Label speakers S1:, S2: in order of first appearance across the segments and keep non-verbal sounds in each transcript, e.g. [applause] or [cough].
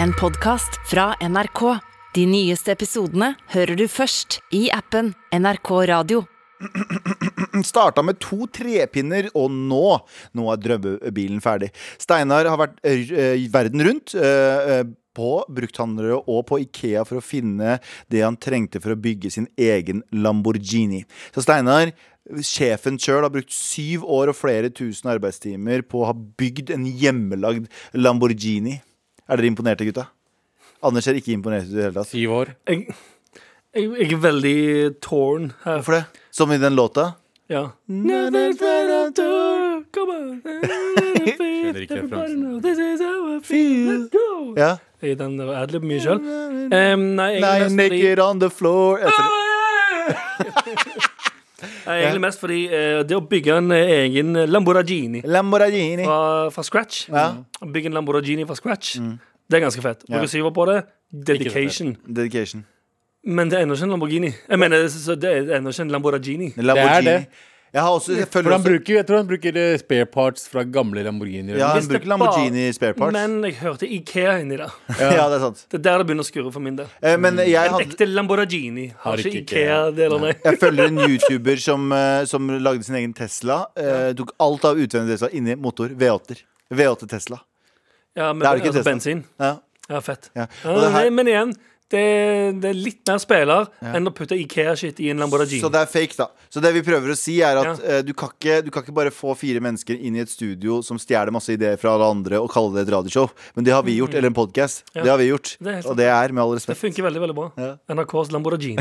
S1: En podcast fra NRK. De nyeste episodene hører du først i appen NRK Radio.
S2: Starta med to trepinner, og nå Nå er drømmebilen ferdig. Steinar har vært eh, verden rundt. eh, eh, på brukthandlere og på Ikea for å finne det han trengte for å bygge sin egen Lamborghini. Så Steinar, sjefen sjøl, har brukt syv år og flere tusen arbeidstimer på å ha bygd en hjemmelagd Lamborghini. Er dere imponerte, gutta? Anders ser ikke imponert ut i det hele tatt.
S3: Syv år.
S4: Jeg, jeg, jeg er veldig torn her.
S2: Hvorfor det? Som i den låta.
S4: Ja.
S3: Skjønner ikke referansen.
S2: Ja.
S4: Jeg er den adlib mye sjøl. nei, jeg er
S2: Lying
S4: mest fordi, [laughs] Ah!
S2: naked on the floor Etter
S4: Nei, egentlig mest fordi eh, det å bygge en eh, egen Lamborghini
S2: Lamborghini
S4: fra, fra scratch
S2: Ja.
S4: Bygge en Lamborghini fra scratch, det er ganske fett. Bruke syver på det. Dedication.
S2: Dedication
S4: Men det er ennå ikke en Lamborghini. Jeg mener, så- så det er ennå ikke en Lamborghini.
S2: Lamborghini
S3: det.
S2: Jeg har også Jeg
S3: For
S2: følger
S3: han
S2: også
S3: bruker, jeg tror han bruker eh, spare parts fra gamle Lamborghinier.
S2: Ja, han
S4: Hvis det
S2: bruker Lamborghini
S4: bare-
S2: spare parts
S4: Men jeg hørte Ikea inni der. [laughs]
S2: Ja, det er sant
S4: Det er der det begynner å skurre for min del.
S2: Eh, Men jeg
S4: En
S2: hadde
S4: ekte Lamborghini har ikke
S3: ikke Ikea.
S4: Ikea-deler, nei.
S2: jeg følger en youtuber som, eh, som lagde sin egen Tesla eh, Tok alt av utvendig Tesla Inni motor, V8 V8 Tesla
S4: [laughs] Ja, men
S2: Det er jo ikke
S4: altså,
S2: Tesla.
S4: bensin.
S2: ja.
S4: Ja, fett.
S2: Ja.
S4: Ja,
S2: Og det her-
S4: det- men igjen, det, det er litt mer spiller enn å putte Ikea-shit i en Lamborghini.
S2: Så det er fake, da. Så det vi prøver å si, er at
S4: Ja.
S2: eh, du, kan ikke, du kan ikke bare få fire mennesker inn i et studio som stjeler masse ideer fra alle andre, og kalle det et radioshow. Men det har vi gjort. Eller en podkast.
S4: Mm. Ja.
S2: Det har vi gjort.
S4: Det er helt
S2: og det er, med all
S4: Det
S2: respekt
S4: funker veldig veldig bra.
S2: Ja.
S4: NRKs
S2: [laughs]
S4: Lamborghini.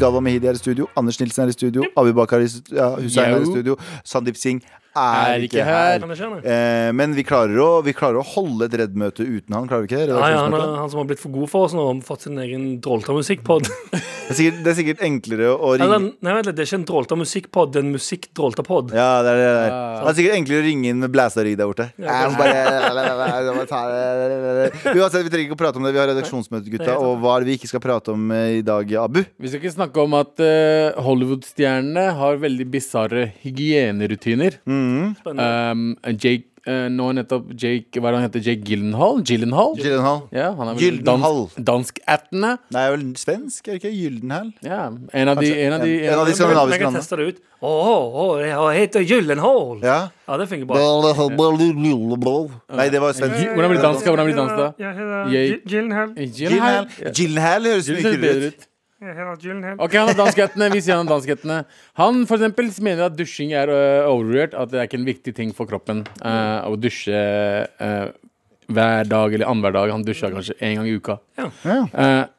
S2: Galva Mehidi er i studio, Anders Nilsen er i studio, Abu Bakar er i stu- ja, Hussein er i
S3: Yo.
S2: studio, Sandeep Singh er, ikke her.
S4: Kan jeg skjønne?
S2: Eh, men vi klarer, å, vi klarer å holde et Redd-møte uten han, klarer vi ikke det?
S4: Ja, ja, han,
S2: Redaksjonsmøte?
S4: er- han som har blitt for god for oss nå, har fått sin egen drolta
S2: [laughs]
S4: musikkpod.
S2: Det, er sikkert, det er sikkert enklere å ringe
S4: [laughs] Eller, nei, vent litt, det er ikke en drolta musikkpod, det er en musikkdroltapod.
S2: Ja, det er det der.
S3: Ja.
S2: Det er sikkert enklere å ringe inn med blæsarygg der borte.
S4: Ja,
S2: Jeg må bare- jeg må bare ta det. Uansett, vi trenger ikke å prate om det. Vi har redaksjonsmøte,
S4: Det er
S2: gutta.
S4: helt
S2: Og hva er det vi ikke skal prate om eh, i dag, Abu?
S3: Vi skal ikke snakke om at eh, Hollywood-stjernene har veldig bisarre hygienerutiner.
S2: Mm.
S4: Spennende.
S3: Um, Jake, eh, nå nettopp Jake Hva er det han heter? Jake Gyllenhaal? Gyllenhaal?
S2: Gyllenhaal.
S3: Ja, han er vel
S2: Gyllenhaal.
S3: dansk- dansk-ættende.
S2: Nei, jeg er vel svensk, er det ikke? Gyldenhal?
S3: Ja, en av de,
S2: Kanskje.
S3: en av de,
S2: En- en av de skal-
S4: Men
S2: skandinaviske
S4: jeg kan
S2: landet.
S4: teste det ut. Å, å, jeg heter Gyllenhaal. Ja.
S2: Ja.
S4: det funker bra.
S2: Nei, det var svensk.
S3: Hvordan blir det dansk? Hvordan blir det dansk, da?
S4: Jeg heter
S3: Jeg-
S4: Gy- Gyllenhaal.
S3: Gyllenhaal.
S2: Gyllenhaal Gyllenhaal høres
S3: Det
S2: mye
S3: ser
S2: kulere
S3: bedre
S2: ut.
S3: ut.
S4: Jeg heter Gyllenhaal.
S3: Ok, han er danskhetene. Vi sier han er danskhetene. Han for eksempel mener at dusjing er øh, overvurdert, at det er ikke en viktig ting for kroppen øh, å dusje øh, hver dag eller annenhver dag. Han dusja kanskje én gang i uka.
S4: Ja.
S2: Ja.
S3: Eh,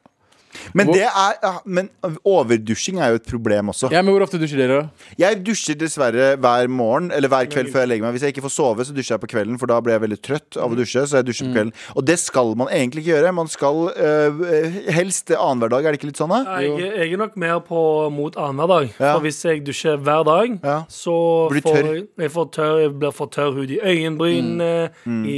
S2: Men, det er, ja, men overdusjing er jo et problem også.
S3: ja, men Hvor ofte dusjer dere? da?
S2: Jeg dusjer dessverre hver morgen Eller hver kveld før jeg legger meg. Hvis jeg ikke får sove, så dusjer jeg på kvelden, for da blir jeg veldig trøtt
S3: Mm.
S2: av å dusje. Så jeg dusjer på kvelden Og det skal man egentlig ikke gjøre. Man skal øh, helst annenhver dag. Er det ikke litt sånn, da?
S4: Nei, Jeg, jeg er nok mer på mot annenhver dag.
S2: Ja.
S4: For hvis jeg dusjer hver dag,
S2: Ja.
S4: så
S2: Blir du
S4: får
S2: tørr?
S4: jeg, jeg, får tørr, jeg blir for tørr hud i øyenbrynene,
S2: Mm.
S4: i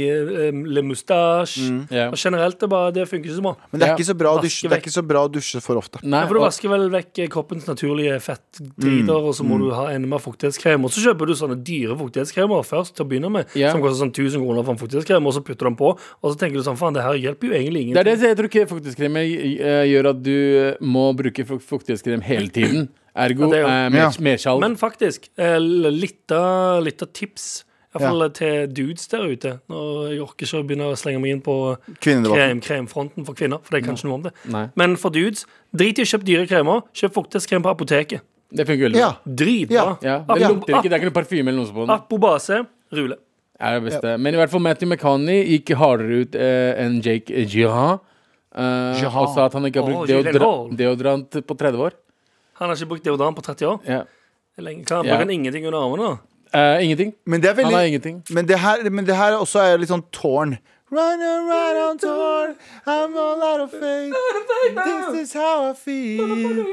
S4: um, le mustache.
S3: Ja.
S4: Og generelt, det, bare, det funker ikke så bra.
S2: Men det er
S3: Ja.
S2: ikke så bra å dusje,
S4: Vaske
S2: det er
S4: vekk.
S2: ikke så bra å dusje for ofte.
S3: Nei,
S4: Ja, for du
S3: og-
S4: vasker vel vekk kroppens naturlige fettdriter,
S2: Mm.
S4: og så må du ha enda mer fuktighetskremer. Og så kjøper du sånne dyre fuktighetskremer først til å begynne med,
S3: Ja.
S4: som koster sånn 1000 kroner for en fuktighetskremer, og så putter du den på, og så tenker du sånn, faen, det her hjelper jo egentlig
S3: det er
S4: ingen.
S3: det jeg tror ikke fuktighetskremer øh, gjør at du øh, må bruke fuk- fuktighetskrem hele tiden. Ergo
S4: Ja, det er jo-
S2: Ja.
S3: øh, mer- mersalg.
S4: Men faktisk, eh, litt av litt av tips, i hvert fall til dudes der ute, når jeg orker ikke å begynne å slenge meg inn på
S2: Kvinnedebatten.
S4: krem, kremfronten for kvinner, for det kan ikke noe om det.
S3: Nei,
S4: Men for dudes, drit i å kjøpe dyre kremer, kjøp fuktighetskrem på apoteket.
S3: det funker veldig
S2: Ja.
S3: bra.
S4: Dritbra.
S2: Ja.
S3: Ja, det
S4: Apro-
S3: lukter ikke, det er ikke noe parfyme eller noe sånt på den.
S4: Apobase, rule.
S3: er det beste. Men i hvert fall Matthew McCanny gikk hardere ut eh, enn Jake Jihan. Eh,
S2: Jiha.
S3: og sa at han ikke har
S4: Åh,
S3: brukt
S4: Gyllenhaal.
S3: deodorant, deodorant på 30 år.
S4: Han har ikke brukt deodorant på 30 år.
S3: Ja.
S4: Det er lenge. Hva,
S3: Ja.
S4: Bruker han ingenting under armene? da?
S3: Eh, ingenting.
S2: Men det er
S3: Han har
S2: veldig
S3: ingenting.
S2: men det, her, men det her også er litt sånn tårn. Run and run on torn, I'm all out of
S3: [laughs]
S2: faith. This is how I feel.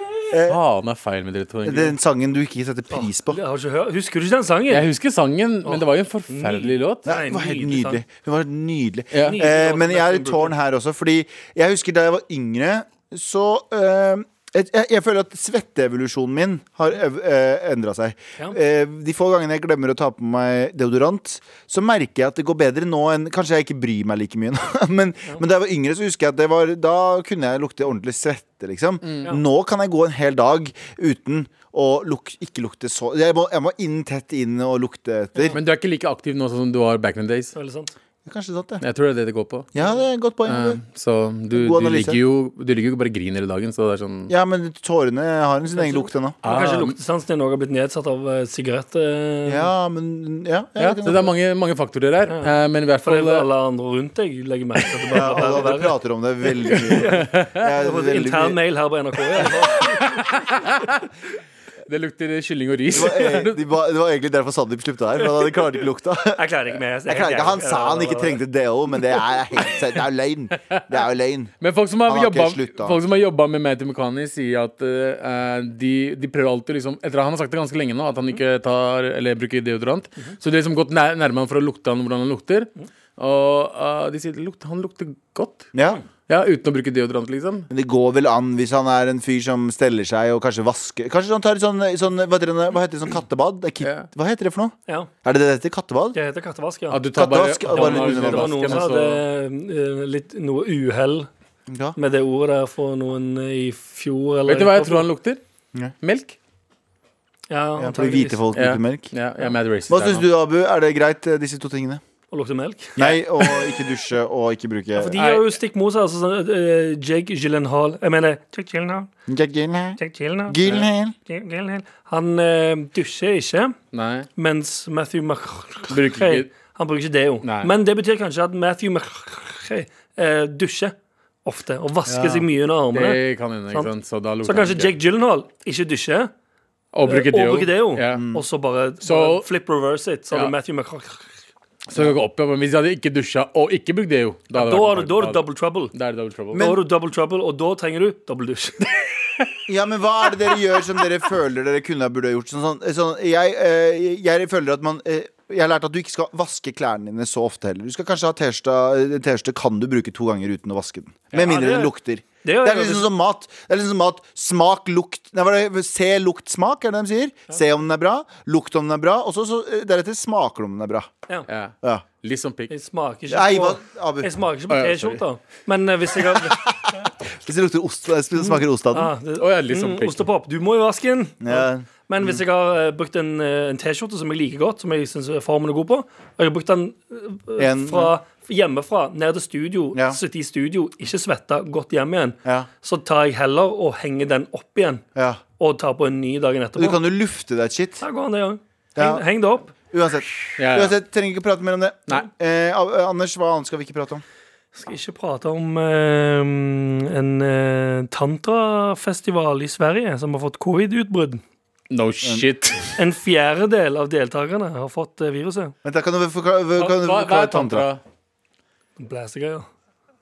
S3: Faen, det er feil med dere to. egentlig.
S2: Den sangen du ikke setter pris på.
S4: Det har du ikke hørt. Husker du ikke den sangen?
S3: Jeg husker sangen, men det var jo en forferdelig låt.
S2: Nei, det var helt
S4: nydelig sang.
S2: nydelig. Hun var nydelig.
S3: Ja.
S4: Nydelig
S2: Eh,
S4: låt,
S2: men jeg er i
S4: Malcolm
S2: tårn her også, fordi jeg husker da jeg var yngre, så eh, Jeg, jeg, jeg føler at svetteevolusjonen min har ev- eh, endra seg.
S4: Ja.
S2: Eh, de få gangene jeg glemmer å ta på meg deodorant, så merker jeg at det går bedre nå enn Kanskje jeg ikke bryr meg like mye nå, [laughs] men, men da jeg var yngre, så husker jeg at det var Da kunne jeg lukte ordentlig svette, liksom. Nå kan jeg gå en hel dag uten å luk, ikke lukte så jeg må, jeg må inn tett inn og lukte etter.
S3: Men du er ikke like aktiv nå sånn som du var back in the days.
S4: Veldig sant.
S2: Kanskje sant, det.
S3: Jeg tror det er det det går på.
S2: Ja, det er et godt poeng.
S3: Eh, så du,
S2: God
S3: du
S2: analyse.
S3: ligger jo Du ligger jo ikke bare og griner hele dagen, så det er sånn
S2: Ja, men tårene har en sin egen lukt ennå.
S3: Ah.
S4: Og Kanskje luktesansen din også har blitt nedsatt av eh, sigarett. eh,
S2: Ja, men Ja.
S3: Ja,
S2: jeg vet
S3: så
S2: ikke.
S3: det er mange, mange faktorer her. eh, Men i hvert
S4: For det
S3: fall
S4: er vel
S3: eh,
S4: alle andre rundt deg legger merke til at det
S2: Ja,
S4: bare
S2: og
S4: blir verre og
S2: alle
S4: verre.
S2: prater om det veldig mye. Jeg,
S4: Det var en Intern mail her på NRK. i alle fall.
S3: eh, det lukter kylling og ris.
S2: Det var,
S3: [laughs]
S2: eh, de var, det var egentlig derfor Sandeep slutta her. For han hadde klart ikke lukta.
S4: Jeg klarer ikke mer.
S2: Jeg klarer ikke, Han sa han ikke trengte DO, men det er helt sant. Det er jo løgn. Det er jo løgn.
S3: Men folk som har,
S2: Han har ikke
S3: jobba,
S2: sluttet.
S3: folk som har jobba med Matty McCanny, sier at eh, de, de prøver alltid liksom Etter at han har sagt det ganske lenge nå, at han ikke tar eller bruker deodorant, så de har liksom gått nær, nærme han for å lukte han hvordan han lukter. Og eh, de sier Lukt, han lukter godt.
S2: Ja.
S3: Ja, uten å bruke deodorant, liksom.
S2: Men det går vel an hvis han er en fyr som steller seg og kanskje vasker Kanskje han tar sånn, sånn hva, heter det, hva heter det sånn kattebad? Det er
S3: Ja.
S2: kit, hva heter det for noe?
S4: Ja,
S2: Er det det det heter? Kattebad?
S4: det heter kattevask, ja.
S3: At du tar bare,
S2: Kattevask, bare
S3: Ja,
S2: under
S4: Det var
S3: vasken, altså.
S4: noen som
S3: og
S4: hadde
S3: så-
S4: eh, litt, noe uhell
S2: Ja.
S4: med det ordet der for noen eh, i fjor. Eller
S3: Vet du hva jeg tror han lukter?
S2: Nei.
S3: Melk.
S4: Ja,
S2: Ja, fordi hvite folk
S3: Ja.
S2: lukter melk.
S3: Ja, jeg er mad racist.
S2: Hva
S3: her
S2: syns
S3: nå.
S2: du, Abu? Er det greit, eh, disse to tingene?
S4: Og lukter melk.
S2: Nei, og ikke dusje og ikke bruke
S4: For de er jo stikk motsatt. Altså, sånn, eh, Jake Gyllenhaal Jeg mener Jake Gyllenhaal.
S2: Jack Gyllenhaal.
S4: Jake Gyllenhaal.
S2: Gyllenhaal.
S4: Jake Gyllenhaal. Han eh, dusjer ikke,
S3: Nei.
S4: mens Matthew McCray
S3: Bruker ikke
S4: Han bruker ikke deo.
S3: Nei.
S4: Men det betyr kanskje at Matthew McCray eh, dusjer ofte og vasker
S3: Ja.
S4: seg mye under armene.
S3: Det kan hende, ikke sant. Så, da lukter
S4: Så kanskje
S3: han ikke.
S4: Jake Gyllenhaal ikke dusjer,
S3: Og bruker deo.
S4: bruker deo.
S3: Ja.
S2: Mm.
S4: og så bare,
S3: Så-
S4: bare flip reverse it. Så
S3: Ja.
S4: hadde Matthew McCray
S3: Så det går ikke opp, ja, men Hvis jeg hadde ikke dusja og ikke brukt deo da hadde
S4: Da
S3: vært-
S4: har du, da har du double trouble.
S3: Da er det double trouble.
S4: da har du double trouble, og da trenger du double
S3: [laughs]
S4: dusj.
S2: Ja, men hva er det dere gjør som dere føler dere kunne ha burde ha gjort? Sånn, sånn, sånn, jeg, eh, jeg føler at man eh, Jeg har lært at du ikke skal vaske klærne dine så ofte heller. Du skal kanskje ha T-skjorta- en T-skjorte kan du bruke to ganger uten å vaske den. Med mindre
S4: det-
S2: den lukter.
S4: det
S2: Det
S4: gjør
S2: er
S4: jeg
S2: liksom
S4: også.
S2: som mat. Det er liksom som mat Smak, lukt Nei, hva er det? Se, lukt, smak, er det de sier. Se om den er bra, lukt om den er bra, og så, så eh, deretter smaker du om den er bra.
S4: Ja.
S3: Ja.
S2: Ja.
S3: Litt som pikk.
S4: Jeg smaker ikke
S2: Nei, hva,
S4: på
S2: Abu.
S4: jeg smaker ikke på
S3: Å, ja,
S4: T-skjorter, men eh, hvis jeg har
S2: Hvis det lukter ost, eh, smaker ost av den.
S4: ah, det,
S3: Å, ja, litt som
S4: mm,
S3: pikk.
S4: Ostepop. Du må jo vaske den.
S2: Ja.
S4: Men hvis jeg har eh, brukt en, eh, en T-skjorte som jeg liker godt, som jeg syns formen er god på, og jeg har brukt den eh,
S2: En-
S4: fra hjemmefra ned til studio,
S2: Ja.
S4: sitte i studio, ikke svette, gått hjem igjen,
S2: Ja.
S4: så tar jeg heller og henger den opp igjen,
S2: ja.
S4: og tar på en ny dagen
S2: Og du
S4: etterpå.
S2: kan jo lufte deg et shit.
S4: Der går han, det òg. Heng,
S2: Ja.
S4: heng det opp.
S2: Uansett.
S3: Ja, ja.
S2: Uansett, trenger ikke prate mer om det.
S3: Nei.
S2: Eh, Ab- eh, Anders, hva annet skal vi ikke prate om?
S4: Skal ikke prate om eh, en eh, tantrafestival i Sverige som har fått covid-utbrudd.
S2: [laughs]
S3: No shit.
S4: En fjerdedel av deltakerne har fått eh, viruset.
S2: Vent, da kan du forklare, kan du
S3: Hva, hva er
S2: forklare tantra?
S3: tantra?
S4: Blæsegreier.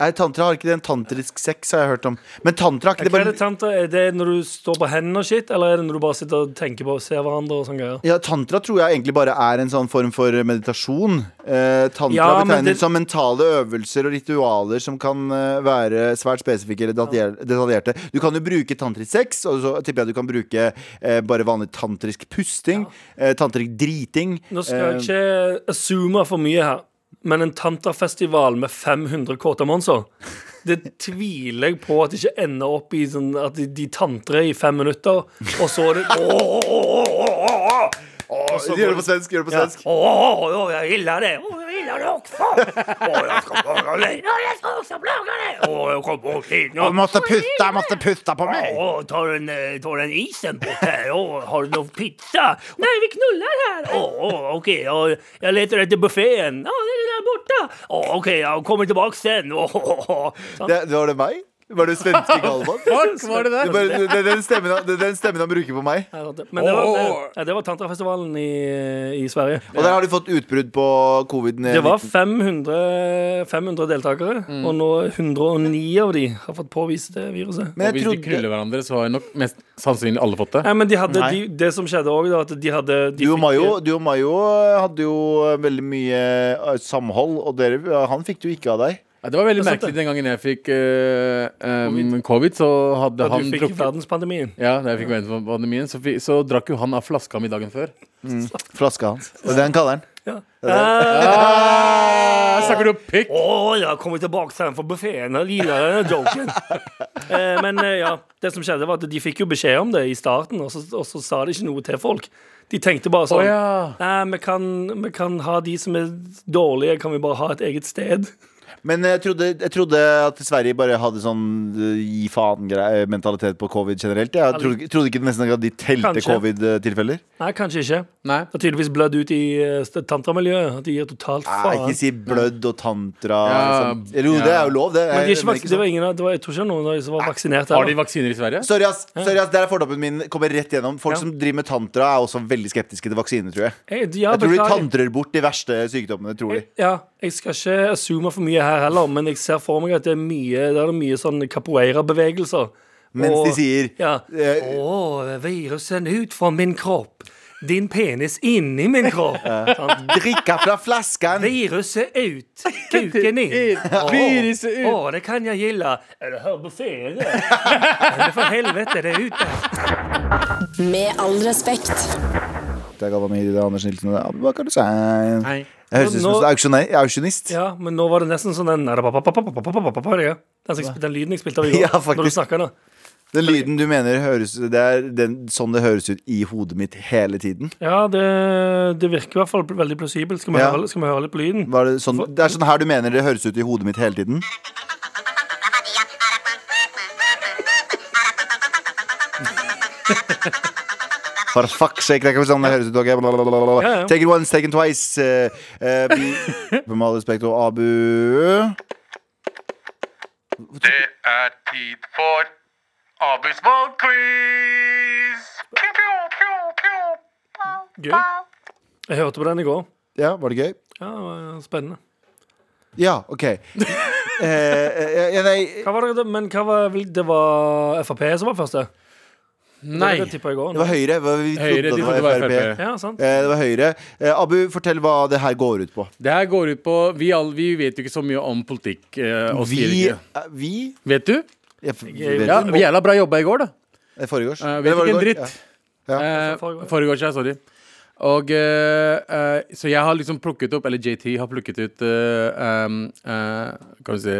S2: Er tantra har ikke det en tantrisk sex, har jeg hørt om. Men tantra er ikke
S4: Hva
S2: det bare
S4: er det tantra? Er det når du står på hendene og shit, eller er det når du bare sitter og tenker på og ser hverandre og sånne greier?
S2: ja, Tantra tror jeg egentlig bare er en sånn form for meditasjon. Eh, tantra
S4: Ja, men
S2: betegnes
S4: det-
S2: som mentale øvelser og ritualer som kan eh, være svært spesifikke eller detaljer- detaljerte. Du kan jo bruke tantrisk sex, og så tipper jeg du kan bruke eh, bare vanlig tantrisk pusting. Eh, tantrisk driting.
S4: Nå skal jeg
S2: eh,
S4: ikke assume for mye her, men en tantrafestival med 500 kåte monser det tviler jeg på at det ikke ender opp i sånn at de, de tantrer i fem minutter, og så [laughs] er det
S2: de gjør det på svensk, gjør det på
S4: Ja.
S2: svensk.
S4: Å, å, jeg gillar det. Å, jeg gillar det også. Å, jeg skal plage deg. Å, jeg skal også plage deg. Å, jeg kom bort hit nå.
S2: Jeg måtte putta, måtte putta på meg!
S4: Å, tar en, eh, tar en isen bort her. Å, har du noe pizza? Nei, vi knullar her. Å, å ok. Ja, jeg leter etter buffeen. Ja, den er der borte. Å, ok, jeg kommer tilbake sen. Å, å, å. Sånn.
S2: Det, det var det meg? Var det
S4: [laughs]
S2: svenske Galvan?
S3: Fuck, var det
S2: Det, er
S3: der?
S2: bare, det, det er den stemmen han, det er den stemmen han bruker på meg.
S4: Men det var,
S3: Å.
S4: ja, det var Tantrafestivalen i, i Sverige.
S2: Og der har de fått utbrudd på covid-19.
S4: Det var 500, 500 deltakere, og nå 109 av de har fått påvist det viruset.
S2: Men
S3: Og
S2: jeg
S3: hvis de knuller
S2: trodde
S3: hverandre, så har nok mest sannsynlig alle fått det.
S4: Nei, men de hadde,
S2: Nei.
S4: de, det som skjedde òg, at de hadde de
S2: du og,
S4: fikk-
S2: Mayo, du og eh, Mayo hadde jo veldig mye eh, samhold, og dere, eh, han fikk du ikke av deg.
S3: Ja, det var veldig
S4: Det er sant,
S3: merkelig den gangen jeg fikk eh, em, covid, så hadde
S4: Og
S3: han
S4: du fikk
S3: drukket
S4: verdenspandemien.
S3: Ja, da jeg fikk vente på pandemien, så, fi- så drakk jo han av flaska mi dagen før.
S2: Flaska hans. Det er det han kaller den.
S4: Ja. Eh,
S3: Ah, snakker du pikk?
S4: Å, jeg har kommet tilbake til den for buffeen. Jeg liker denne
S2: [laughs]
S4: joken. Eh, men eh, ja, det som skjedde var at de fikk jo beskjed om det i starten, og så, og så sa de ikke noe til folk. De tenkte bare
S3: Å
S4: sånn
S3: ja.
S4: Nei, vi kan, vi kan ha de som er dårlige, kan vi bare ha et eget sted?
S2: Men eh, jeg trodde, jeg trodde at Sverige bare hadde sånn eh, gi faen-mentalitet på covid generelt. Jeg trodde, trodde ikke nesten at de telte
S4: Kanskje.
S2: covid-tilfeller.
S4: Nei, kanskje ikke.
S3: Nei.
S4: Det har tydeligvis blødd ut i eh, tantramiljøet. At de gir totalt
S2: Nei,
S4: faen.
S2: ikke si blødd og tantra.
S3: Ja,
S2: og sånt. Eller jo, det er jo lov, det.
S4: Men de er
S2: Jeg-
S4: ikke
S2: men
S4: vaks-
S2: ikke
S4: det
S2: sånn.
S4: var ingen, av- det var, jeg tror ikke det var noen av de som var
S3: Har
S4: vaksinert.
S3: de
S4: heller.
S3: vaksiner i Sverige?
S2: Sorry, ass. Sorry, ass. Der er fordommen min. Kommer rett gjennom. Folk
S4: Ja.
S2: som driver med tantra, er også veldig skeptiske til vaksine, tror jeg.
S4: Jeg, ja,
S2: Jeg tror de
S4: beklager. Eh,
S2: tantrer bort de verste sykdommene, tror de.
S4: Ja, jeg skal ikke assume for mye her heller, men jeg ser for meg at det er mye, det er mye sånn capoeira-bevegelser.
S2: Mens
S4: Og-
S2: de sier
S4: ja.
S2: eh,
S4: Å, virusen ut fra min kropp. Din penis inni min kropp. Sant?
S2: 'drikka fra flasken'.
S4: Viruset ut, kuken inn.
S3: Inn.
S4: Å,
S3: Viruset ut.
S4: Å, det kan jeg gille. Er det her buffeen? Men for helvete, det er ute.
S1: Med all respekt.
S2: Det er Galvan Mehidi, det er Anders Nilsen og det er Abubakar Hussein.
S3: Nei.
S2: Jeg høres ut som
S4: Nå-
S2: en auksjonær- auksjonist.
S4: Ja, men nå var det nesten sånn den Den, som jeg spil- den lyden jeg spilte av i
S2: Ja,
S4: går,
S2: faktisk.
S4: når du snakka nå.
S2: Den lyden du mener høres Det er den, sånn det høres ut i hodet mitt hele tiden.
S4: Ja, det, det virker i hvert fall veldig plausibelt. Skal vi,
S2: Ja.
S4: høre, skal vi høre litt på lyden?
S2: Var det, sånn, det er sånn her du mener det høres ut i hodet mitt hele tiden? For fuck's sake, det er ikke sånn det høres ut. ok? Blablabla.
S4: Ja, ja.
S2: Take it once, take it twice. eh, eh,
S4: [laughs]
S2: Med all respekt og Abu
S5: Det er tid for Abus valgquiz! Pew, pew, pew, pew.
S4: Gøy. Jeg hørte på den i går.
S2: Ja, var det gøy?
S4: Ja, det var Spennende.
S2: Ja, OK.
S3: [laughs]
S2: Eh, eh, ja, nei,
S4: Hva var det, men hva var, vel, det var Frp som var første?
S3: Nei.
S4: Det, var det jeg tippet i går,
S2: Det var Høyre. hva Vi trodde
S3: Høyre, de
S2: det
S3: trodde
S2: var FRP.
S4: ja, sant?
S2: Eh, Det var Høyre. Eh, Abu, fortell hva det her går ut på.
S3: Det her går ut på Vi, all, vi vet jo ikke så mye om politikk. eh, og sier
S2: Vi,
S3: ikke.
S2: eh, vi
S3: Vet du?
S2: jeg, f-
S4: Jeg-
S2: vet
S3: Ja,
S2: du?
S3: Jævla bra jobba i går, da.
S2: Eh, Foregårs?
S3: Eh,
S2: Eller
S3: vet
S2: var det
S3: ikke en
S2: går?
S3: dritt.
S2: Ja.
S3: Eh,
S4: foregår.
S3: Foregårs, ja. Sorry. Og eh, eh, Så jeg har liksom plukket opp, eller JT har plukket ut eh, um, eh, Kan vi si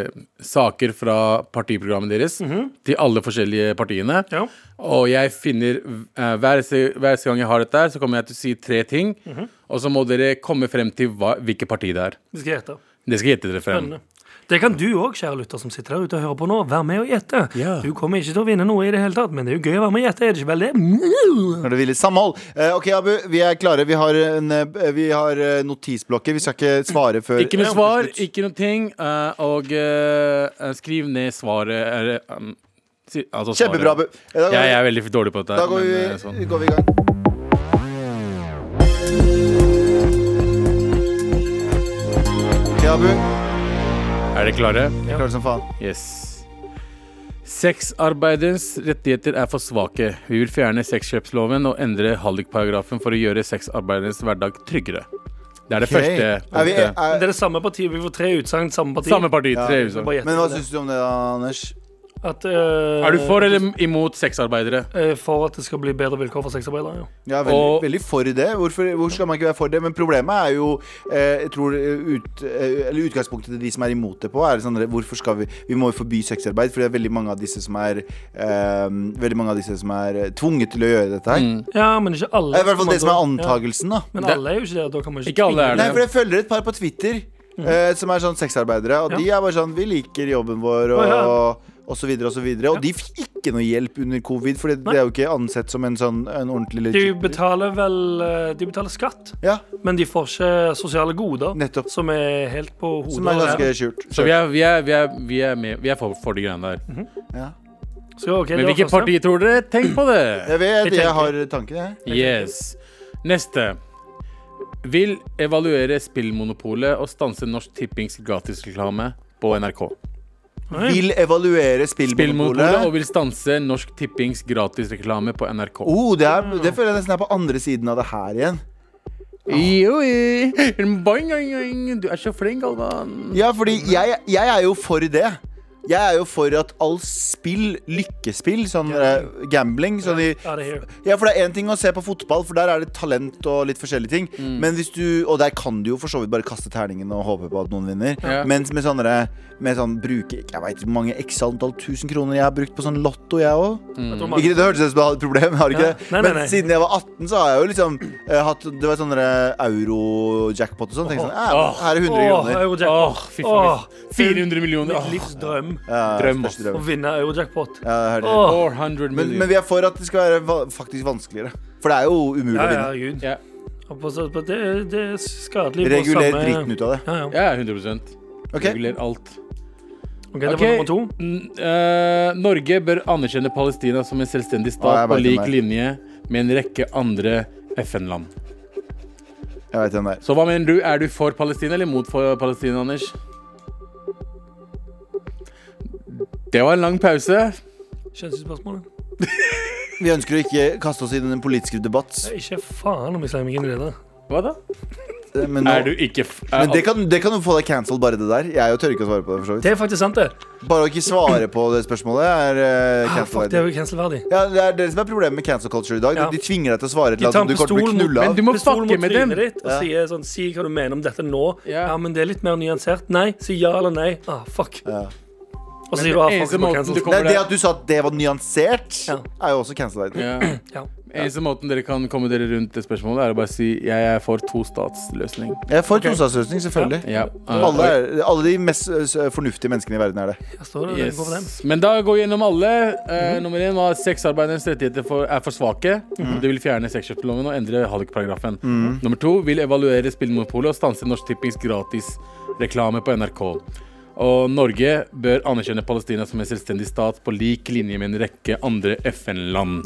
S3: saker fra partiprogrammet deres til alle forskjellige partiene.
S4: Mhm. Ja.
S3: Og jeg finner eh, hver, se, hver eneste gang jeg har dette, her, så kommer jeg til å si tre ting.
S4: Mhm.
S3: Og så må dere komme frem til hva, hvilket parti det er.
S4: Vi skal gjette.
S3: Det skal jeg gjette dere frem.
S4: Spennende. Det kan du òg, kjære lytter som sitter der ute og hører på nå. Vær med og gjette.
S3: Ja.
S4: Du kommer ikke til å vinne noe i det hele tatt, men det er jo gøy å være med og gjette, er det ikke vel det?
S2: Når det vil i samhold. Eh, ok, Abu, vi er klare. Vi har, en, eh, vi har eh, notisblokker. Vi skal ikke svare før
S3: Ikke noe
S2: Ja.
S3: svar, ikke noe ting. eh, og eh, skriv ned svaret. Eller, um, si, altså svaret.
S2: Kjempebra, Abu. Eh, Da, går
S3: Jeg,
S2: vi-
S3: jeg er veldig for dårlig på dette.
S2: da går,
S3: men,
S2: vi,
S3: eh, sånn.
S2: går vi i gang. Ok, Abu.
S3: Er dere klare?
S2: Klart som faen.
S3: Yes. Sexarbeiderens rettigheter er for svake. Vi vil fjerne sexkjøpsloven og endre hallikparagrafen for å gjøre sexarbeiderens hverdag tryggere. Det er det
S2: Ok.
S3: første.
S2: Er vi,
S3: punktet.
S2: er,
S4: Det er det samme partiet. Vi får tre utsagn, samme parti.
S3: Samme parti. Tre
S4: Så
S3: utsagn.
S4: bare gjette
S2: Men hva
S4: det.
S2: syns du om det, da, Anders?
S4: At, eh,
S3: Er du for eller imot sexarbeidere?
S4: eh, for at det skal bli bedre vilkår for sexarbeidere? Ja.
S2: Ja, veldig,
S3: Og-
S2: veldig for det. Hvorfor, hvor skal man ikke være for det? Men problemet er jo eh, jeg tror eh, ut, eh, eller Utgangspunktet til de som er imot det på, er sånn Hvorfor skal vi Vi må jo forby sexarbeid, for det er veldig mange av disse som er eh, Veldig mange av disse som er eh, tvunget til å gjøre dette
S3: Mm.
S2: her.
S4: Ja, men ikke alle.
S2: Det er i hvert fall det som er
S4: Ja.
S2: antagelsen, da.
S4: Men
S3: Det-
S4: alle er jo ikke det. Da kan man ikke,
S3: Ikke alle
S2: Nei,
S3: er det. Mm.
S2: for jeg følger et par på Twitter eh, som er sånn sexarbeidere, og de er bare sånn Vi liker jobben vår, og
S4: Å, ja.
S2: Og så videre, og så videre Og de fikk ikke noe hjelp under covid, for det, det er jo ikke ansett som en sånn en ordentlig
S4: De
S2: legit-
S4: betaler vel eh, De betaler skatt,
S2: Ja,
S4: men de får ikke sosiale goder.
S2: Nettopp.
S4: Som er helt på hodet.
S2: som er
S4: og
S2: ganske
S4: ræva.
S2: skjult.
S3: Så vi er, vi er, vi er, vi er, med, vi er for, for de greiene der.
S2: Ja.
S4: Så, ja, ok, det
S3: Men
S4: var
S3: hvilket
S4: første.
S3: parti tror dere? Tenk på det!
S2: Jeg
S4: Jeg
S2: vet, jeg,
S4: tenker-
S2: har tanken, jeg.
S3: Yes. Neste. Vil evaluere spillmonopolet og stanse Norsk Tippings gratisreklame på NRK.
S4: Oi.
S2: Vil evaluere
S3: Spillmonopolet og
S2: spillmonopolet.
S3: vil stanse Norsk Tippings gratisreklame på NRK.
S2: Oh, det, er, det føler jeg nesten er på andre siden av det her igjen.
S3: Joi. Boing, boing, boing. Du er så flink, Galvan.
S2: Ja, fordi jeg, jeg er jo for det. Jeg er jo for at all spill, lykkespill, sånn eh, gambling sånn i,
S4: Out of here.
S2: Ja, for det er én ting å se på fotball, for der er det talent og litt forskjellige ting.
S4: Mm.
S2: Men hvis du, Og der kan du jo for så vidt bare kaste terningen og håpe på at noen vinner.
S3: Ja.
S2: Mens med sånne med sånn bruke Jeg veit hvor mange x antall tusen kroner jeg har brukt på sånn lotto, jeg òg.
S4: Jeg tror
S2: Ikke
S4: mange-
S2: det, det hørtes ut som jeg hadde et problem, jeg har ikke
S4: Ja.
S2: det.
S4: Nei, nei,
S2: Men
S4: nei.
S2: siden jeg var 18, så har jeg jo liksom eh, hatt Det var sånne euro-jackpot og sånn. Tenkte sånn, eh, her er 100
S4: Åh,
S2: kroner.
S4: Eurojackpot.
S3: Åh, fy faen.
S4: Åh,
S3: 400 millioner.
S4: Mitt livs drøm
S2: Ja,
S3: Drøm,
S2: største
S3: ass.
S4: å
S2: drøm.
S4: vinne Eurojackpot.
S2: Ja, jeg hørte det.
S4: Åh,
S3: 400
S2: men, men
S3: millioner.
S2: vi er for at det skal være va- faktisk vanskeligere. For det er jo umulig
S4: ja,
S2: å
S4: ja,
S2: vinne.
S4: Gud.
S3: Ja,
S4: Og på så- på Det, det er skadelig på
S2: Reguler
S4: samme
S2: dritten ut av det.
S4: Ja, ja.
S3: ja 100
S2: Ok?
S3: Reguler alt.
S4: Ok, det
S3: Ok.
S4: var nummer to.
S3: N- eh, Norge bør anerkjenne Palestina som en
S2: Å,
S3: selvstendig stat
S2: jeg
S3: på
S2: vet
S3: lik
S2: den der.
S3: linje med en rekke andre FN-land.
S2: Jeg vet den der.
S3: Så hva mener du? Er du for Palestina eller mot for Palestina, Anders? Det var en lang pause.
S4: Kjønnsspørsmålet.
S2: Vi ønsker å ikke kaste oss inn i den politiske debatt,
S4: Det er Ikke faen om jeg slenger meg inn i det.
S3: Hva da?
S2: eh, men, nå,
S3: Er du ikke f
S2: men det, kan, det kan jo få deg cancelled, bare det der. Jeg jo tør ikke å svare på det. for så vidt
S4: Det er faktisk sant, det.
S2: Bare å ikke svare på det spørsmålet er eh,
S4: Ah,
S2: cancel
S4: fuck, det er
S2: verden.
S4: jo cancelverdig.
S2: ja, det er det som er problemet med cancel culture i dag.
S4: Ja.
S2: De tvinger deg til å svare et
S4: De
S2: eller
S4: tar
S2: annet som du kommer
S4: en
S2: til å
S4: pistol
S2: bli
S4: mot-
S2: knulla
S3: Men
S2: av.
S3: du må
S4: Pistol
S3: fucke
S4: mot
S3: med dem.
S4: trynet ditt og
S2: Ja.
S4: sier sånn Si hva du mener om dette nå.
S3: Ja.
S4: Ja, men det er litt mer nyansert. Nei. Si ja eller nei. Ah, fuck.
S2: Ja.
S4: Og så sier
S3: den
S4: du ah, fuck,
S3: eneste
S4: jeg må
S3: måten
S4: cancel.
S3: du
S2: Nei,
S3: kommer
S2: det
S3: deg-
S2: at du sa at det var nyansert,
S4: Ja.
S2: er jo også cancel verden.
S3: Ja.
S4: Ja.
S3: Eneste måten dere kan komme dere rundt det spørsmålet, er å bare si jeg er for tostatsløsning.
S2: Jeg får tostatsløsning, selvfølgelig.
S3: Ja.
S2: Alle, er, alle de mest eh, fornuftige menneskene i verden er det.
S4: Jeg står der,
S3: Yes.
S4: yes. går for dem.
S3: Men da går vi gjennom alle. Eh, nummer én var at sexarbeidernes rettigheter for, er for svake. Det vil fjerne sexkjøpsloven og endre hallikparagrafen. Nummer to vil evaluere spillmonopolet og stanse Norsk Tippings gratisreklame på NRK. Og Norge bør anerkjenne Palestina som en selvstendig stat på lik linje med en rekke andre FN-land.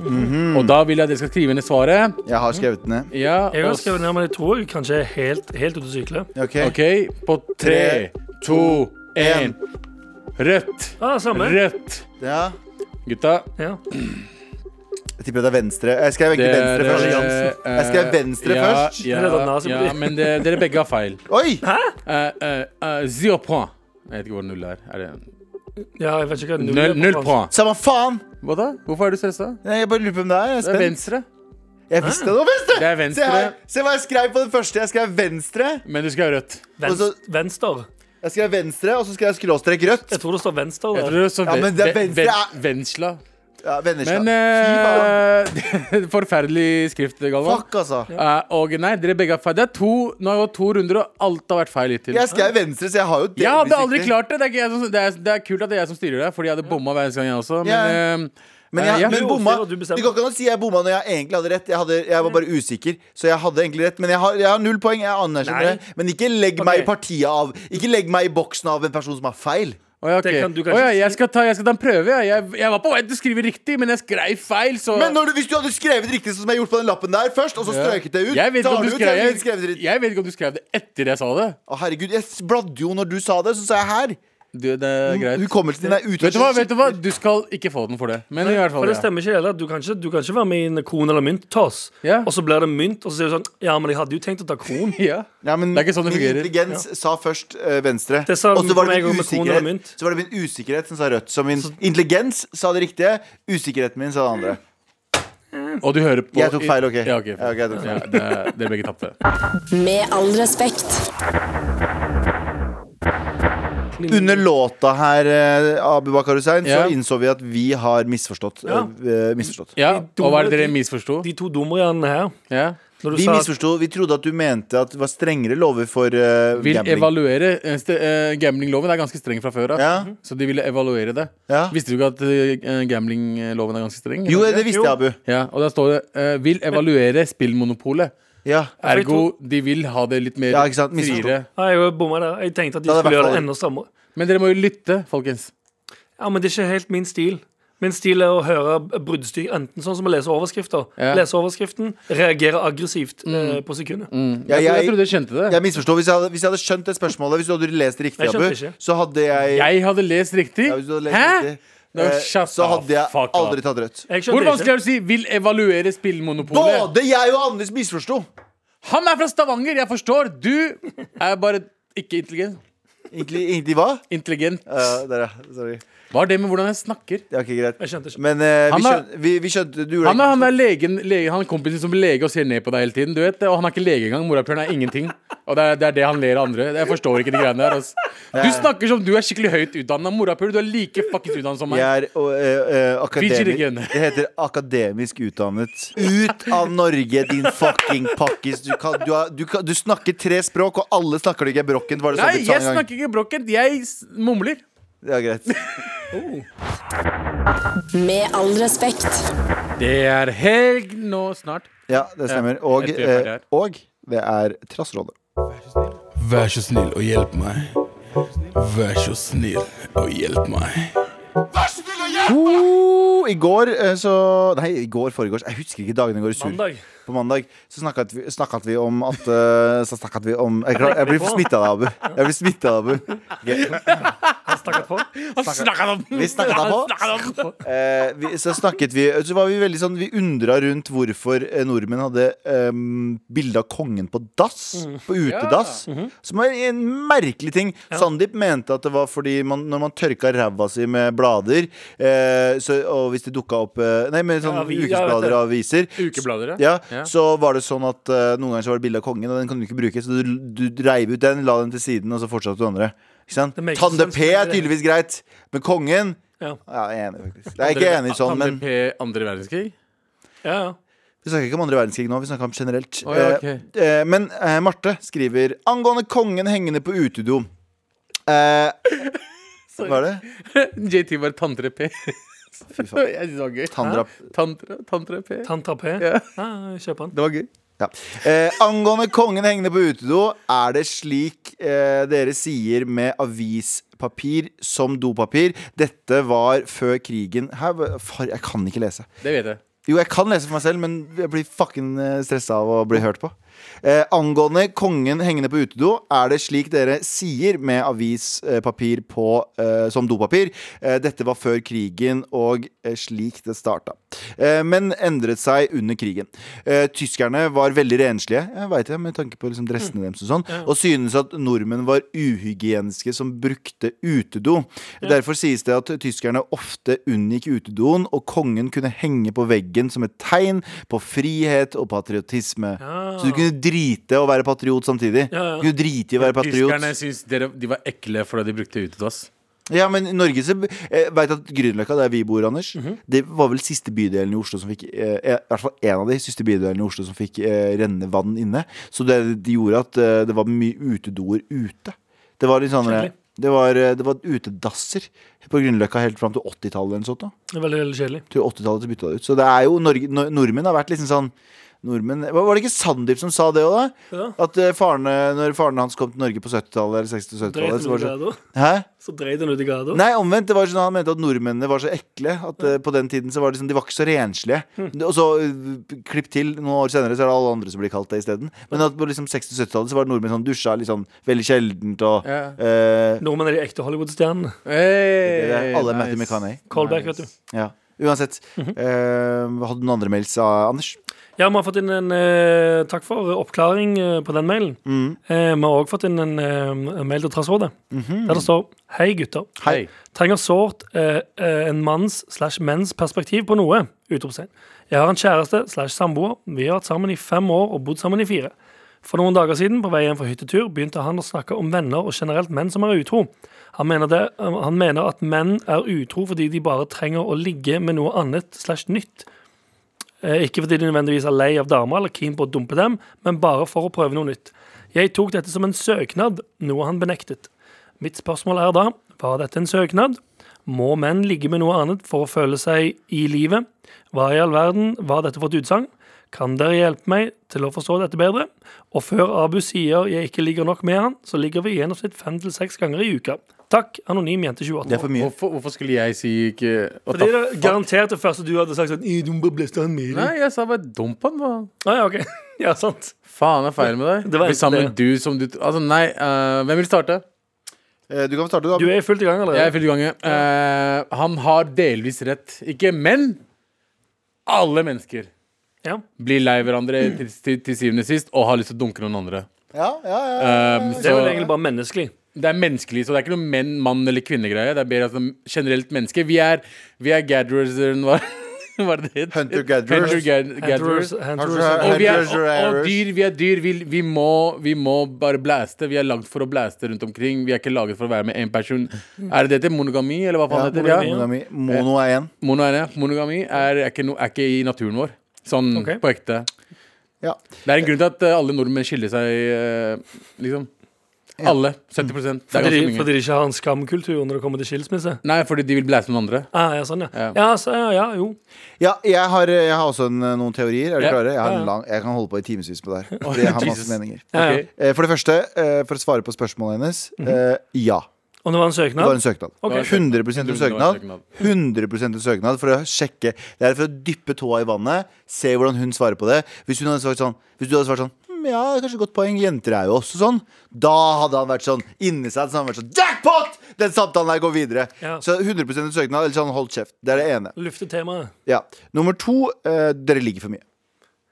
S3: Og da vil jeg at dere skal skrive ned svaret.
S2: Jeg har skrevet den ned.
S3: Ja,
S4: Jeg
S3: og
S4: har
S3: s-
S4: skrevet ned, men jeg tror jeg kanskje er helt, helt ute å sykle.
S2: Ok.
S3: OK, på tre, to, én.
S2: en.
S3: Rødt.
S4: Ah, samme.
S3: Rødt.
S2: Ja.
S3: Gutta,
S4: Ja.
S2: Jeg tipper det er venstre. Jeg skrev egentlig
S3: Dere,
S2: venstre først.
S3: eh,
S2: Jeg skrev venstre
S3: ja,
S2: først.
S3: Ja,
S4: Eller da nazi-
S3: ja, men det, dere begge har feil.
S2: Oi!
S3: Eh, eh, eh, Zero point. Jeg vet ikke hvor null er. er det?
S4: ja, jeg vet ikke hva
S3: Null, null point.
S2: Samme faen!
S3: Hva da? Hvorfor er du stressa?
S2: Nei, Jeg bare lurer på hvem det er. Jeg, er
S3: Det er
S2: spent.
S3: venstre.
S2: jeg visste det var venstre!
S3: Det er venstre.
S2: Se, her. Se hva jeg skrev på den første. Jeg skrev venstre.
S3: Men du skal ha rødt.
S2: Og
S4: Venst, Venstre.
S2: Jeg skrev venstre, og så skrev jeg skråstrek rødt.
S4: Jeg tror det står venstre
S3: Jeg
S4: der.
S3: tror det er så
S2: Ja,
S3: ve-
S2: men det er
S3: ve-
S2: venstre,
S3: ve-
S2: ja.
S3: Vensla.
S2: Ja, Vennesla.
S3: Men
S2: Fy faen.
S3: eh, [laughs] Forferdelig skrift, Galvan.
S2: Fuck, altså.
S3: Eh, og nei, dere begge har feil. Det er to, nå har det gått to runder, og alt har vært feil hittil.
S2: Jeg skrev venstre, så jeg har jo
S3: Jeg hadde
S2: delvis
S3: aldri
S2: riktig.
S3: klart det. Det er, ikke jeg som, det, er, det er kult at det er jeg som styrer det, fordi jeg hadde bomma hver eneste gang, jeg også. Men,
S2: Ja.
S3: eh,
S2: Men,
S3: eh,
S2: jeg,
S3: ja.
S2: men
S4: Du
S2: bomma
S4: bestemmer, du
S2: Det
S4: bestemmer.
S2: går ikke an å si jeg bomma når jeg egentlig hadde rett. Jeg, hadde, jeg var bare usikker, så jeg hadde egentlig rett. Men jeg har, jeg har null poeng. Jeg anerkjenner
S4: Nei.
S2: det. Men ikke legg meg
S4: Ok.
S2: i partiet av Ikke legg meg i boksen av en person som har feil.
S3: Å ja, ok.
S4: Det kan du
S3: Å
S4: kanskje
S3: ja, jeg,
S4: si.
S3: skal ta, jeg skal ta en prøve. Jeg, jeg, jeg var på vei til å skrive riktig, men jeg skrev feil. Så
S2: Men når du, hvis du hadde skrevet riktig sånn som jeg gjorde på den lappen der først, og så
S3: Ja.
S2: strøket det ut
S3: Jeg vet,
S2: så
S3: ikke
S2: har
S3: om du
S2: jo
S3: skrev,
S2: teorien
S3: jeg,
S2: skrevet riktig.
S3: jeg vet ikke om du skrev det etter jeg sa det.
S2: Å, herregud, jeg bladde jo når du sa det, så sa jeg her.
S3: Du,
S2: Mm,
S3: det er greit.
S2: Hukommelsen din er ute.
S3: Vet du hva, vet du hva? Du skal ikke få den for det. Men i hvert
S4: For
S3: fall
S4: det
S3: ja.
S4: stemmer ikke heller. Du kan ikke, du kan ikke være med i en kron- eller mynttoss.
S3: Ja.
S4: Og så blir det mynt, og så sier du sånn Ja, men jeg hadde jo tenkt å
S3: [laughs]
S4: ta kron.
S3: Ja.
S2: Ja, men
S3: Det er ikke sånn det
S2: min
S3: fungerer.
S2: intelligens sa først eh, venstre.
S4: Det sa
S2: og så
S4: den
S2: var
S4: for
S2: det,
S4: meg
S2: min
S4: også med kroner og mynt.
S2: usikkerhet, så var det min usikkerhet som sa rødt. Så min intelligens sa det riktige, usikkerheten min sa det andre.
S3: Og du hører på
S2: Jeg tok feil, OK?
S3: Ja, ok,
S2: Ja, ok, jeg tok feil.
S3: ja, det er- Dere begge tapte.
S1: Med all respekt.
S2: Under låta her, eh, Abu Bakar Hussein,
S3: Ja.
S2: så innså vi at vi har misforstått.
S4: Ja.
S2: eh, eh, misforstått.
S3: Ja,
S4: De
S3: Og hva er det
S4: dumme-
S3: dere misforsto?
S4: De to dumrianene her.
S3: Ja.
S4: Når du
S2: Vi
S4: sa at-
S2: misforsto. Vi trodde at du mente at det var strengere lover for eh,
S3: Vil
S2: gambling.
S3: evaluere eh, st- eh, Gamblingloven er ganske streng fra før av.
S2: Ja.
S3: Så de ville evaluere det.
S2: Ja.
S3: Visste du ikke at eh, gamblingloven er ganske streng?
S2: Jo, eh, det visste jeg, Abu.
S3: Ja, og der står det eh, Vil evaluere spillmonopolet
S2: Ja.
S4: jeg
S3: Ergo, de vil ha det litt mer
S2: Ja, ikke sant, misforstå.
S3: friere
S4: Ja, jeg bomma der. Jeg tenkte at de
S2: Da hadde
S4: skulle
S2: jeg
S4: gjøre det
S2: vært
S4: enda strammere.
S3: Men dere må jo lytte, folkens
S4: Ja, men det er ikke helt min stil. Min stil er å høre bruddstyr, enten sånn som å lese overskrifter.
S3: Ja. Mm.
S4: Lese overskriften, reagere aggressivt eh, på sekundet.
S2: Ja,
S3: jeg,
S2: jeg-
S3: jeg trodde jeg skjønte det
S2: Jeg misforstod. Hvis, jeg hadde- hvis jeg hadde skjønt det spørsmålet, hvis du hadde lest riktig,
S4: Jeg skjønte
S2: Abu,
S4: ikke.
S2: så hadde jeg,
S3: Jeg hadde lest riktig
S2: ja, hvis du hadde lest
S3: Hæ?
S2: riktig,
S3: No,
S2: eh,
S3: shut
S2: så
S3: the
S2: hadde jeg
S3: fuck up.
S2: aldri tatt rødt.
S4: Jeg skjønner
S3: Hvor
S4: det ikke.
S3: vanskelig er det å si Vil evaluere spillmonopolet
S2: Både jeg og Anders misforsto!
S3: Han er fra Stavanger, jeg forstår. Du er bare ikke intelligent.
S2: Egentlig, egentlig hva?
S3: Intelligent.
S2: Eh, der, ja. Sorry.
S3: Hva er det med hvordan jeg snakker?
S2: Det er ikke greit.
S4: Jeg skjønte, skjønte.
S2: Men eh, vi,
S3: Han er-
S2: skjønte, vi, vi skjønte Du gjorde
S3: Han er, han er legen, lege, han er kompisen som er lege og ser ned på deg hele tiden. Du vet, Og han er ikke lege engang. Morapuleren er ingenting. Og det er, det er det han ler av andre. Jeg forstår ikke de greiene der. ass. Du snakker som du er skikkelig høyt utdanna. Morapuler, du er like fuckings utdannet som meg.
S2: Jeg er og, eh, eh, akademi-
S3: Fidget again.
S2: Det heter akademisk utdannet. Ut av Norge, din fucking pakkis! Du, kan, du, har, du, kan, du snakker tre språk, og alle snakker det gebrokkent. Var det
S3: Nei,
S2: sånn du sa
S3: jeg
S2: en gang?
S3: snakker ikke brokkent. Jeg s- mumler.
S2: Ja, greit.
S1: Med all respekt.
S3: Det er helg nå snart.
S2: Ja, det stemmer. Og,
S3: jeg tror jeg er
S2: eh,
S3: ferdig her.
S2: og det er Trassrådet.
S6: Vær så snill og hjelp meg. Vær så snill og hjelp meg.
S2: Oh, I går eh, så Nei, i går, foregårs. Jeg husker ikke dagene i går. Sur.
S4: Mandag.
S2: På mandag så snakket vi, snakket vi om at eh, Så snakket vi om Jeg, klar, jeg blir smittet av Abu. Jeg blir smittet av Abu. Ok.
S4: Han snakket på.
S3: Han snakket om
S2: Vi snakket da på.
S3: snakket om
S2: Eh, vi, så snakket vi Så var vi veldig sånn Vi undra rundt hvorfor eh, nordmenn hadde eh, bilde av kongen på dass.
S4: Mm.
S2: På utedass.
S4: Mhm.
S2: Som var en merkelig ting. Sandeep mente at det var fordi man, når man tørka ræva si med blader, eh, så, og hvis det dukka opp eh, Nei, med sånn
S4: Ja, vi- ja, vet
S2: ukesblader
S4: det.
S2: og aviser,
S3: Ukeblader, ja.
S2: ja, så var det sånn at eh, noen ganger så var det bilde av kongen, og den kan du ikke bruke, så du, du reiv ut den, la den til siden, og så fortsatte du andre. Ikke sant?
S4: Det makes
S2: Tande
S4: sense,
S2: P er
S4: det-
S2: tydeligvis greit, men kongen
S4: Ja.
S2: ja, jeg er enig, faktisk. Jeg er ikke enig i sånn, men
S3: Andre P, andre verdenskrig?
S4: Ja, ja.
S2: vi snakker ikke om andre verdenskrig nå, vi snakker om generelt.
S3: Å, ja, ok.
S2: Eh, eh, men eh, Marte skriver angående kongen hengende på utedo.
S3: [laughs]
S2: Eh, hva er det?
S3: JT var tantre P. [laughs]
S2: Fy faen.
S3: Jeg synes det var gøy.
S2: Tantra-
S3: Tantra, tantra P.
S4: Tantra P.
S3: Ja.
S4: Ja, kjøp han.
S2: Det var gøy. Ja. Eh, angående kongen hengende på utedo, er det slik eh, dere sier med avispapir som dopapir? Dette var før krigen Hæ? hva- Far, jeg kan ikke lese.
S3: Det vet jeg.
S2: Jo, jeg kan lese for meg selv, men jeg blir fucking stressa av å bli hørt på. Eh, angående kongen hengende på utedo, er det slik dere sier med avispapir på, eh, som dopapir. Eh, dette var før krigen og eh, slik det starta. Eh, men endret seg under krigen. Eh, tyskerne var veldig renslige, jeg vet det, med tanke på liksom dressene deres og sånn,
S4: Mm.
S2: og synes at nordmenn var uhygieniske som brukte utedo. Derfor sies det at tyskerne ofte unngikk utedoen, og kongen kunne henge på veggen som et tegn på frihet og patriotisme. Så du kunne drite å være patriot samtidig.
S4: Ja, ja.
S2: Du kunne drite i å være
S3: Tyskerne
S2: patriot.
S3: syns dere- de var ekle fordi de brukte utedass.
S2: Ja, men i Norge så eh, Veit at Grünerløkka, der vi bor, Anders, det var vel siste bydelen i Oslo som fikk eh, I hvert fall en av de siste bydelene i Oslo som fikk eh, renne vann inne. Så det, det gjorde at eh, det var mye utedoer ute. Det var litt sånn
S4: Kjedelig.
S2: det var, eh, det var utedasser på Grünerløkka helt fram til 80-tallet. eller noe sånt da.
S4: Det er Veldig, veldig kjedelig.
S2: til 80-tallet så bytta det ut. Så det er jo Norge, nor- nordmenn har vært liksom sånn Nordmenn, var var det ikke Sandeep som sa det òg, da?
S4: Ja.
S2: At eh, faren, eh, når faren hans kom til Norge på 70-tallet eller
S4: Dreit
S2: 60-70-tallet
S4: han
S2: så var
S4: ut i
S2: det sånn,
S4: gado.
S2: Hæ?
S4: Så dreit han ut i
S2: [laughs]
S4: gado.
S2: Nei, omvendt. Det var sånn at Han mente at nordmennene var så ekle. At eh, på den tiden så var det sånn, De var ikke så renslige.
S3: Hmm.
S2: Og så eh, klipp til, noen år senere så er det alle andre som blir kalt det isteden. Men at på liksom 60-70-tallet så var det nordmenn som dusja litt sånn veldig sjeldent og
S3: Ja.
S2: eh,
S4: Nordmenn er de ekte Hollywood-stjernene.
S3: Hey,
S2: det er Alle Matty McCanney.
S4: Callback, vet du.
S2: Ja. Uansett.
S3: Mhm.
S2: eh, hadde du noen andre mails, ah, Anders?
S4: Ja, vi har fått inn en eh, Takk for oppklaring eh, på den mailen. Eh, vi har òg fått inn en eh, mail til Trassrådet, der det står Hei, gutter.
S3: Hei.
S4: Trenger sårt eh, eh, en manns slash menns perspektiv på noe. Utropstegn. Jeg har en kjæreste slash samboer. Vi har vært sammen i fem år og bodd sammen i fire. For noen dager siden, på vei hjem fra hyttetur, begynte han å snakke om venner og generelt menn som er utro. Han mener, det, eh, han mener at menn er utro fordi de bare trenger å ligge med noe annet slash nytt. Eh, Ikke fordi de nødvendigvis er lei av damer eller keen på å dumpe dem, men bare for å prøve noe nytt. Jeg tok dette som en søknad, noe han benektet. Mitt spørsmål er da, var dette en søknad? Må menn ligge med noe annet for å føle seg i livet? Hva i all verden var dette for et utsagn? Kan dere hjelpe meg til å forstå dette bedre? Og før Abu sier jeg ikke ligger nok med han, så ligger vi i gjennomsnitt fem til seks ganger i uka. Takk, anonym jente 28
S2: Det er
S4: år.
S2: for mye.
S3: Hvorfor, hvorfor skulle jeg si ikke what
S4: Fordi
S3: the
S4: det er
S3: fuck?
S4: garantert det første du hadde sagt sånn «Ih, Du må bare bleste han med
S3: Nei, jeg sa bare dump han, hva
S4: Ah, ja, ok. [laughs] Ja, sant.
S3: faen er feil med deg?
S4: Det var
S3: Bli sammen med
S4: egentlig
S3: du som du Altså, nei, eh, hvem vil starte?
S2: Eh, Du kan få starte, du. Abu.
S4: Du er i fullt i gang allerede.
S3: Jeg er i full gang. Eh, han har delvis rett. Ikke men alle mennesker
S4: Ja.
S3: Blir lei hverandre til, til, til syvende og sist og har lyst til å dunke noen andre.
S2: Ja, ja, ja.
S3: Um,
S4: Det er
S3: så-
S4: vel egentlig bare menneskelig.
S3: det er menneskelig, så det er ikke noe menn, mann eller kvinnegreie. Det er mer altså, generelt menneske. Vi er, vi er gatherers, hva [laughs] hva er det det het?
S2: Hunter-gatherers.
S3: Hunter ga- gatherers.
S4: Hunterers, hunters,
S3: Og, vi er, og, og
S2: Hunter-gatherers.
S3: dyr, vi er dyr. Vi, vi, må, vi må bare blæste. Vi er lagd for å blæste rundt omkring. Vi er ikke laget for å være med én person. Er det det heter? Monogami, eller hva faen
S2: Ja,
S3: det heter det? Ja.
S2: monogami. Mono er én.
S3: Mono er det. Monogami er, er, ikke no, er ikke i naturen vår. Sånn
S4: Ok.
S3: på ekte.
S2: Ja.
S3: Det er en grunn til at eh, alle nordmenn skiller seg, eh, liksom. Alle. 70 Det er
S4: Fordi,
S3: ganske
S4: de-
S3: mye.
S4: fordi de ikke har en skamkultur når det kommer til skilsmisse?
S3: Nei, fordi de vil blæse noen andre.
S4: Ah, ja, sånn, ja.
S3: Ja.
S4: Ja, så, ja, ja, jo.
S2: ja jeg, har, eh, jeg har også en, noen teorier. Er dere
S3: Ja.
S2: klare? Jeg, har
S4: Ja.
S2: en lang, jeg kan holde på i timevis på det her.
S3: [laughs]
S2: fordi Jeg har masse
S3: Jesus.
S2: meninger.
S4: Ja, ja.
S3: Ok.
S2: Eh, For det første, eh, for å svare på spørsmålet hennes. eh, Ja.
S4: Og det var en
S2: Det var en
S4: søknad?
S2: søknad.
S4: Ok.
S2: 100 en søknad.
S3: Det var en søknad.
S2: 100 en søknad for å sjekke. Det er for å dyppe tåa i vannet, se hvordan hun svarer på det. Hvis hun hadde svart sånn Hvis du hadde svart sånn «Hm, ja, kanskje godt poeng. Jenter er jo også sånn. Da hadde han vært sånn inni seg. Så hadde han vært sånn Jackpot! Den samtalen der går videre.
S4: Ja.
S2: Så 100 en søknad, eller sånn hold kjeft. Det er det ene.
S4: Lufte temaet.
S2: Ja. Nummer to, eh, dere ligger for mye.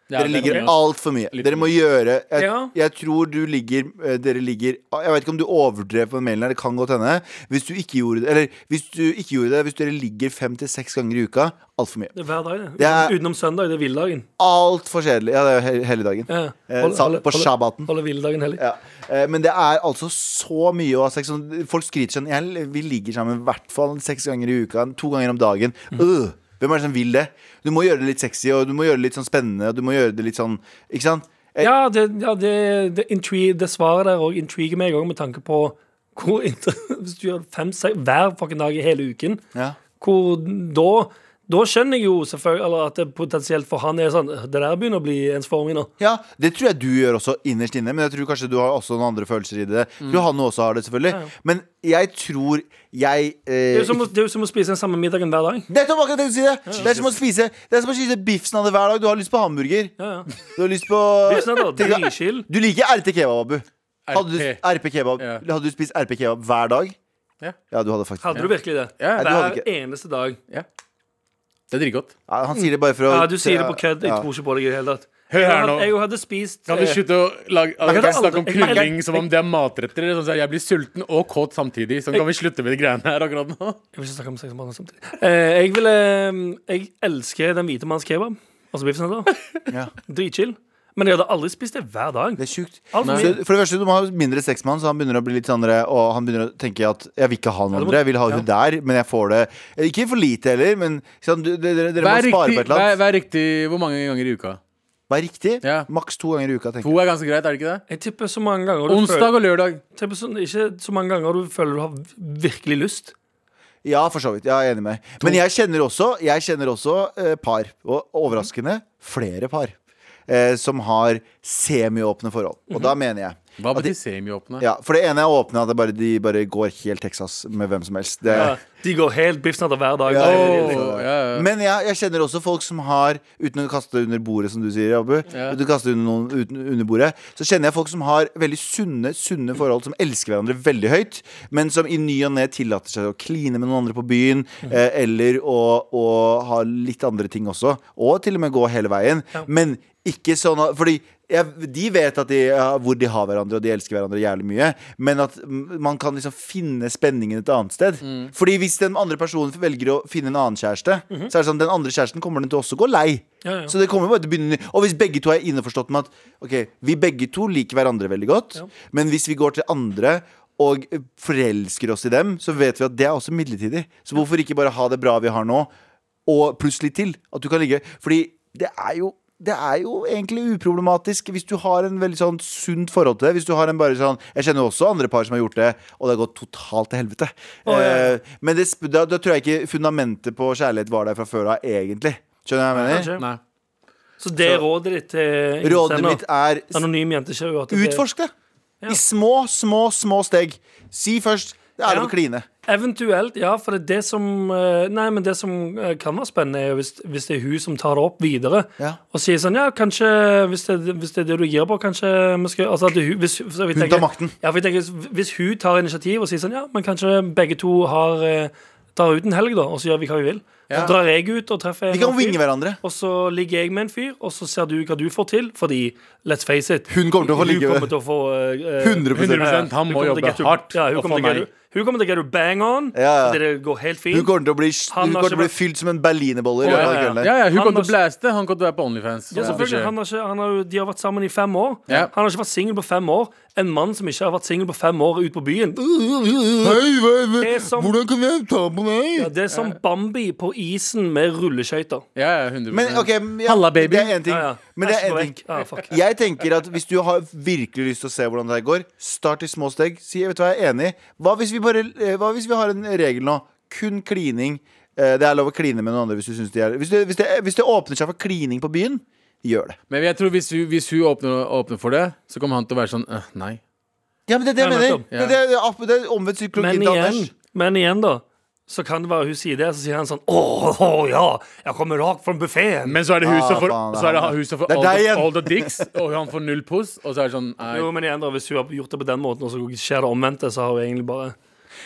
S3: Ja,
S2: Dere
S3: det er
S2: ligger
S3: noe.
S2: altfor mye.
S3: Litt
S2: Dere må gjøre jeg,
S4: Ja.
S2: jeg tror du ligger eh, Dere ligger Jeg vet ikke om du overdrev på den mailen, her, det kan godt hende. Hvis du ikke gjorde det Eller hvis du ikke gjorde det Hvis dere ligger fem til seks ganger i uka, altfor mye.
S4: Det er hver dag, det.
S2: Det er-
S4: Utenom søndag. Det er hviledagen.
S2: Altfor kjedelig. Ja, det er jo he- heledagen.
S4: Ja.
S2: Eh,
S4: Hold-
S2: sa-
S4: hold-
S2: på
S4: hold-
S2: shabbaten.
S4: Holde hviledagen hellig.
S2: Ja. Eh, Men det er altså så mye å ha sex. Sånn, Folk skryter sånn jeg, Vi ligger sammen i hvert fall seks ganger i uka, to ganger om dagen.
S4: Mm.
S2: Øh, hvem er det som vil det? Du må gjøre det litt sexy, og du må gjøre det litt sånn spennende, og du må gjøre det litt sånn Ikke sant? Eh,
S4: Ja, det, ja det, det, intri- det svaret der òg intriger meg òg, med tanke på hvor inter [laughs] Hvis du gjør fem se- hver fucking dag i hele uken,
S2: Ja.
S4: hvor da da skjønner jeg jo selvfølgelig Eller at det potensielt for han er sånn Det der begynner å bli ens form i nå.
S2: Ja, det tror jeg du gjør også innerst inne, men jeg tror kanskje du har også noen andre følelser i det. Jeg
S4: Mm.
S2: Tror han også har det, selvfølgelig. Men jeg tror jeg
S4: Det
S2: eh,
S4: er jo som, å-
S2: ikke-
S4: det er jo som å spise den samme middagen hver dag.
S2: Nettopp akkurat det jeg skulle si! Det Det er som å spise Det er som å spise biffsen av det hver dag. Du har lyst på hamburger.
S4: Ja, ja.
S2: Du har lyst på
S4: Det er sånn at det er dritchill.
S2: Du liker RT kebab, Abu. Hadde du,
S3: RP.
S2: RP kebab.
S3: Ja.
S2: hadde du spist RP kebab hver dag?
S3: Ja.
S2: ja, du hadde faktisk
S4: Hadde du virkelig det?
S3: Ja,
S2: du hadde ikke.
S4: Hver eneste dag.
S3: Det er dritgodt.
S2: ja, Han sier det bare for å
S4: Ja, du sier det på kødd. Jeg
S2: Ja.
S4: tror ikke på deg i det hele tatt.
S3: Hør
S4: Jeg
S3: her nå.
S4: hadde, jeg hadde spist
S3: Kan du
S4: eh,
S3: slutte å lage,
S4: kan
S3: kan snakke
S4: aldri-
S3: om
S4: jeg kan-
S3: krylling som om det er matretter? eller Sånn at jeg blir sulten og kåt samtidig. Sånn kan vi slutte med de greiene her akkurat nå.
S4: Jeg vil ikke snakke om sex og barn samtidig. Eh, jeg vil eh, Jeg elsker den hvite manns kebab. Altså biff sandwich.
S2: Ja.
S4: Dritchill. Men jeg hadde aldri spist det hver dag.
S2: Det er sjukt.
S4: Alt for
S2: Så
S4: mye.
S2: For det første, du må ha mindre sex med han, så han begynner å bli litt sånn andre, Og han begynner å tenke at jeg vil ikke ha noen
S4: Ja, du må-
S2: andre, jeg vil ha hun der, men jeg får det Eh, Ikke for lite heller, men sånn, du, dere, dere må
S3: Vær
S2: spare
S3: riktig,
S2: på et eller
S3: vær,
S2: annet.
S3: vær riktig hvor mange ganger i uka?
S2: Vær riktig.
S3: Ja.
S2: Maks to ganger i uka, tenker jeg.
S3: To er ganske greit, er det ikke det?
S4: Jeg tipper så mange ganger du føler,
S3: Onsdag og lørdag.
S4: tipper så, Ikke så mange ganger du føler du har virkelig lyst.
S2: Ja, for så vidt. Ja, jeg er enig med deg. Men jeg kjenner også, jeg kjenner også eh, par, og overraskende flere par, eh, som har semiåpne forhold.
S4: Mhm.
S2: Og da mener jeg
S3: Hva
S2: at de-
S3: betyr semiåpne?
S2: ja, For det ene er åpne, at det bare, de bare går helt Texas med hvem som helst. Det,
S4: Ja. De går helt biff snatter hver dag.
S2: Ja.
S4: Det er-
S3: Åh, ja, ja.
S2: Men jeg, jeg kjenner også folk som har Uten å kaste det under bordet, som du sier, Abu
S3: Ja.
S2: Uten å kaste det under, noen, uten, under bordet Så kjenner jeg folk som har veldig sunne Sunne forhold, som elsker hverandre veldig høyt Men som i ny og ned tillater seg Å kline med noen andre på byen eh, Eller å, å ha litt andre ting også Og til og med gå hele veien Men ikke sånn at Fordi jeg, de vet at de, ja, hvor de har hverandre, og de elsker hverandre jævlig mye. Men at mm, man kan liksom finne spenningen et annet sted.
S4: Mm.
S2: Fordi hvis den andre personen velger å finne en annen kjæreste, så er det sånn den andre kjæresten kommer den til også å gå lei.
S4: Mhm. Ja, ja.
S2: Så det kommer bare til å begynne Og hvis begge to er innforstått med at Ok, vi begge to liker hverandre veldig godt, men hvis vi går til andre og forelsker oss i dem, så vet vi at det er også midlertidig. Så hvorfor ikke bare ha det bra vi har nå, og plutselig til. At du kan ligge Fordi det er jo det er jo egentlig uproblematisk hvis du har en veldig sånn sunt forhold til det. Hvis du har en bare sånn Jeg kjenner jo også andre par som har gjort det, og det har gått totalt til helvete. Eh, Men det, sp- da, da tror jeg ikke fundamentet på kjærlighet var der fra før av, egentlig. Skjønner du hva jeg mener?
S4: Kanskje.
S3: Nei.
S4: Så det er rådet ditt til
S2: Rådet
S4: innsender.
S2: mitt er s-
S4: Anonym jente ser jo at det-
S2: utforsk det. I små, små, små steg. Si først det er lov å kline.
S4: Eventuelt, ja. For det, er det som eh, Nei, men det som eh, kan være spennende, er jo hvis, hvis det er hun som tar det opp videre.
S2: Ja.
S4: Og sier sånn, ja, kanskje hvis det, hvis det er det du gir på, kanskje vi skal, altså at hun, hvis, så vi
S2: Hun tar
S4: tenker-
S2: makten.
S4: Ja, for jeg tenker, hvis- Hvis hun tar initiativ og sier sånn, ja, men kanskje begge to har eh, drar ut en helg, da, og så gjør vi hva vi vil. Så
S3: Ja.
S4: drar jeg ut og
S2: Vi
S4: treffer en
S2: kan
S4: annen fyr,
S2: vinge hverandre.
S4: Og så ligger jeg med en fyr, og så ser du hva du får til, fordi let's face it
S2: Hun kommer til å få
S4: Hun
S2: ligge
S4: kommer til å få eh, eh,
S2: 100
S3: 100 Han
S4: hun
S3: må
S4: kommer til
S3: jobbe
S4: get you-
S3: hardt
S4: Ja, hun
S3: og
S4: kommer
S3: få
S4: til å get
S3: meg.
S4: you- hun kommer til å get you bang on.
S2: Ja, ja.
S4: Det går helt fint.
S2: Hun kommer til å bli, hun
S4: Han har
S2: kommer til å
S4: ikke
S2: bli fylt som en berlinerbolle. i løpet
S4: Ja,
S2: av
S4: ja, ja.
S2: kvelden der.
S3: Ja, ja, hun
S4: Han
S3: kommer til
S4: har-
S3: å blaste, han kommer til å være på Onlyfans.
S4: Ja,
S3: Så får vi
S4: selvfølgelig.
S3: se.
S4: Han har ikke, han har, jo- de har vært sammen i fem år.
S3: Ja.
S4: Han har ikke vært singel på fem år. En mann som ikke har vært singel på fem år ute på byen.
S7: Hei, hei, hei.
S4: Det er som,
S7: Hvordan kan jeg ta på deg?
S4: ja, det er som Bambi på isen med rulleskøyter.
S3: Ja, ja, 100
S2: Men ok, ja,
S3: Halla, baby.
S2: det er én ting.
S4: Ja, ja.
S2: Men det
S4: Æsj,
S2: er
S4: gå
S2: en
S4: vekk.
S2: ting.
S4: Ja, fuck.
S2: Jeg tenker at Hvis du har virkelig lyst til å se hvordan det her går, start i små steg. Si vet du hva, jeg er enig. Hva hvis vi, bare, eh, hva hvis vi har en regel nå? Kun klining. Eh, Det er lov å kline med noen andre hvis du syns de er hvis det, hvis, det, hvis det åpner seg for klining på byen, gjør det.
S3: Men jeg tror hvis hun, hvis hun åpner, åpner for det, så kommer han til å være sånn eh, Nei.
S2: Ja, men Det er det jeg
S4: Ja,
S2: mener.
S4: nettopp.
S2: Det, er det, det, er opp- det er omvendt psykologi
S4: Men
S2: til Anders.
S4: igjen, men igjen, da. Så kan det være hun sier det, så sier han sånn Å, å, ja, jeg kommer rakt fra buffeen.
S3: Men så er det hun
S2: Ah,
S3: som får,
S2: faen, det er
S3: så er det
S2: han.
S3: hun som får
S2: Det er
S3: all,
S2: deg
S3: the,
S2: igjen.
S3: all the dicks, og han får null puss, og så er det sånn nei.
S4: Jo, men igjen, da, hvis hun har gjort det på den måten, og så skjer det omvendte, så har hun egentlig bare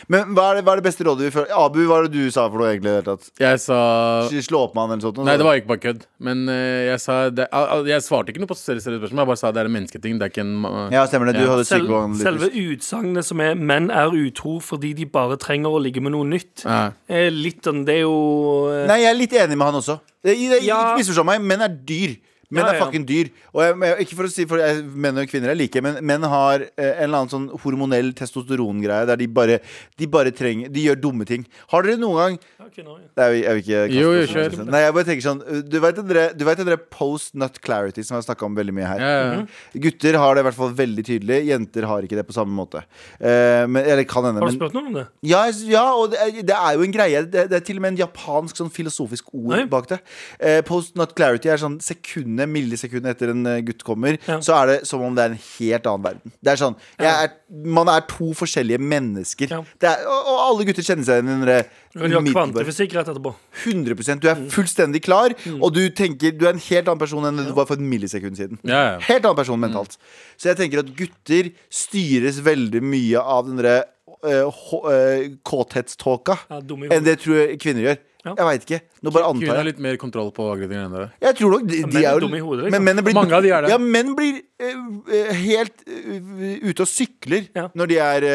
S2: Men hva er, det, hva er det beste rådet vi føler? Abu, hva er det du sa for noe egentlig? i det hele tatt?
S3: Jeg sa
S2: Slå opp med han eller sånt?
S3: Nei, det var ikke bare kødd. Men eh, jeg sa det, al- al- Jeg svarte ikke noe på seriøse spørsmål. Jeg bare sa det er en mennesketing. Det er ikke en ma-
S2: Ja, stemmer det. Du
S3: Ja.
S2: hadde
S4: Sel
S2: psykoanalytisk.
S4: Selve utsagnet som er 'menn er utro fordi de bare trenger å ligge med noe nytt',
S3: Ja.
S4: er litt sånn Det er jo eh,
S2: Nei, jeg er litt enig med han også. Det, det,
S4: Ja.
S2: Ikke misforstå meg, menn er dyr. Menn
S4: Ja,
S2: er
S4: ja.
S2: fucking dyr. Og jeg, jeg, ikke for å si for jeg, Menn og kvinner er like, men menn har eh, en eller annen sånn hormonell testosterongreie der de bare, de bare trenger De gjør dumme ting. Har dere noen gang
S4: Ok, nå, ja.
S2: Nei, jeg, vil- jeg vil ikke kaste
S3: Jo,
S2: oss
S3: jo,
S2: under
S3: kjør.
S2: bussen. Nei, jeg bare tenker sånn uh, Du vet den der- du vet den der post nut clarity som jeg har snakka om veldig mye her.
S3: Ja, ja.
S4: Mhm.
S2: Gutter har det i hvert fall veldig tydelig. Jenter har ikke det på samme måte. Eh, men, eller kan hende.
S4: Har du
S2: men-
S4: spurt noen om det?
S2: ja, jeg- ja, og det er, det er jo en greie. Det, det er til og med en japansk sånn filosofisk ord
S4: Oi.
S2: bak det. Eh, post not clarity er sånn sekundet, millisekundet etter en eh, gutt kommer,
S4: Ja.
S2: så er det som om det er en helt annen verden. Det er sånn, jeg er, Man er to forskjellige mennesker.
S4: Ja.
S2: Det er, og, og alle gutter kjenner seg igjen i den derre
S4: Men de har
S2: umiddelbare-
S4: kvantefysikk rett etterpå.
S2: 100 Du er fullstendig klar,
S4: Mm.
S2: og du tenker du er en helt annen person enn du var for et millisekund siden.
S3: Ja, ja.
S2: Helt annen
S4: Mm.
S2: person mentalt. Så jeg tenker at gutter styres veldig mye av den derre eh, hå- eh, kåthetståka
S4: Ja, dumme i hodet.
S2: enn det tror jeg kvinner gjør.
S4: Ja.
S2: Jeg veit ikke. Nå bare
S3: Kvinner
S2: antar
S3: har
S2: jeg.
S3: litt mer kontroll på aggressivitet enn dere.
S2: Jeg tror nok de,
S4: menn
S2: de
S4: er
S2: er
S4: dumme i hodet, liksom.
S2: Men mennene blir
S3: Mange av de er det.
S2: Ja, menn blir eh, eh, helt eh, ute og sykler
S4: Ja.
S2: når de er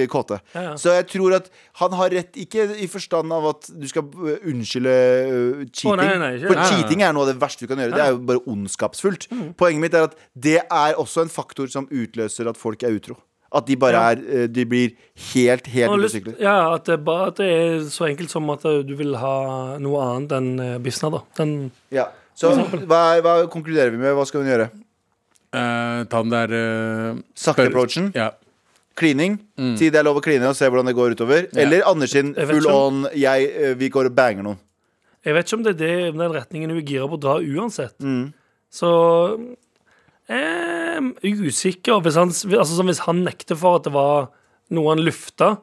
S2: eh, kåte.
S4: Ja, ja.
S2: Så jeg tror at han har rett, ikke i forstand av at du skal eh, unnskylde eh, cheating.
S4: Å, nei, nei, Mm. ikke-
S2: For
S3: nei, nei.
S2: cheating er noe av det verste du kan gjøre. Det er jo bare ondskapsfullt. Poenget mitt er at det er også en faktor som utløser at folk er utro. At de bare
S4: Ja.
S2: er eh, De blir helt, helt
S4: Jeg har
S2: ute og
S4: lyst,
S2: sykler.
S4: ja, at det, er bare, at det er så enkelt som at eh, du vil ha noe annet enn eh, Bisna, da. Den,
S2: Ja. Så hva, er- hva konkluderer vi med? Hva skal hun gjøre?
S3: Eh, ta den der eh,
S2: Sakte
S3: spør-
S2: approachen?
S3: Ja.
S2: klining.
S4: Mm.
S2: Si det er lov å kline og se hvordan det går utover. Eller Andersen,
S4: Jeg vet
S2: full
S4: ikke
S2: on, jeg, eh, vi går og banger noen.
S4: jeg vet ikke om det er det, den retningen hun er gira på å dra uansett.
S2: Mm.
S4: Så eh, Usikker. Hvis han, altså, sånn, hvis han nekter for at det var noe han lufta,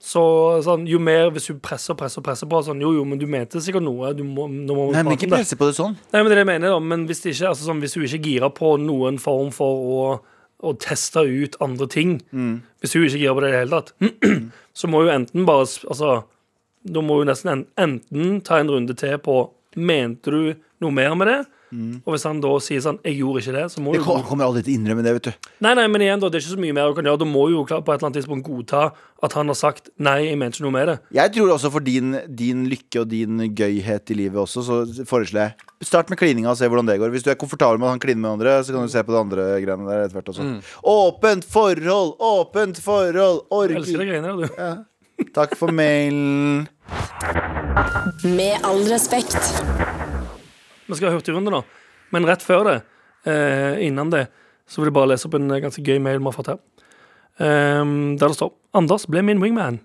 S4: så sånn, jo mer Hvis hun presser presser, presser på sånn, Jo, jo, men du mente sikkert noe. Du må, nå må vi
S2: Nei, men
S4: prate
S2: ikke
S4: om det.
S2: presse på det sånn.
S4: Nei, men det er det jeg mener da, men hvis, det ikke, altså, sånn, hvis hun ikke girer på noen form for å, å teste ut andre ting, hvis hun ikke girer på det i det hele tatt, [clears throat] så må hun enten bare, s- altså, da må hun nesten en, enten ta en runde til på, mente du noe mer med det? Og hvis han da sier sånn, Mm. jeg gjorde ikke det, så må
S2: Det
S4: hun...
S2: kom- han kommer aldri til å innrømme det, vet du.
S4: Nei, nei, men igjen da, det er ikke så mye mer hun kan gjøre, da må hun jo klar- på et eller annet tidspunkt godta at han har sagt, nei, jeg mente ikke noe med det.
S2: Jeg tror også for din, din lykke og din gøyhet i livet også, så foreslår jeg Start med klininga og se hvordan det går. Hvis du er komfortabel med at han kliner med andre, så kan du se på de andre greiene der etter hvert også.
S4: Mm.
S2: Åpent forhold! Åpent forhold!
S4: Jeg elsker det
S2: Orgi.
S4: greiene der, du.
S2: Takk for mailen.
S1: Med all respekt.
S4: Vi skal ha hurtigrunde nå. Men rett før det, eh, innan det, så vil jeg bare lese opp en eh, ganske gøy mail vi har fått her. Ehm, der det står Anders ble min wingman.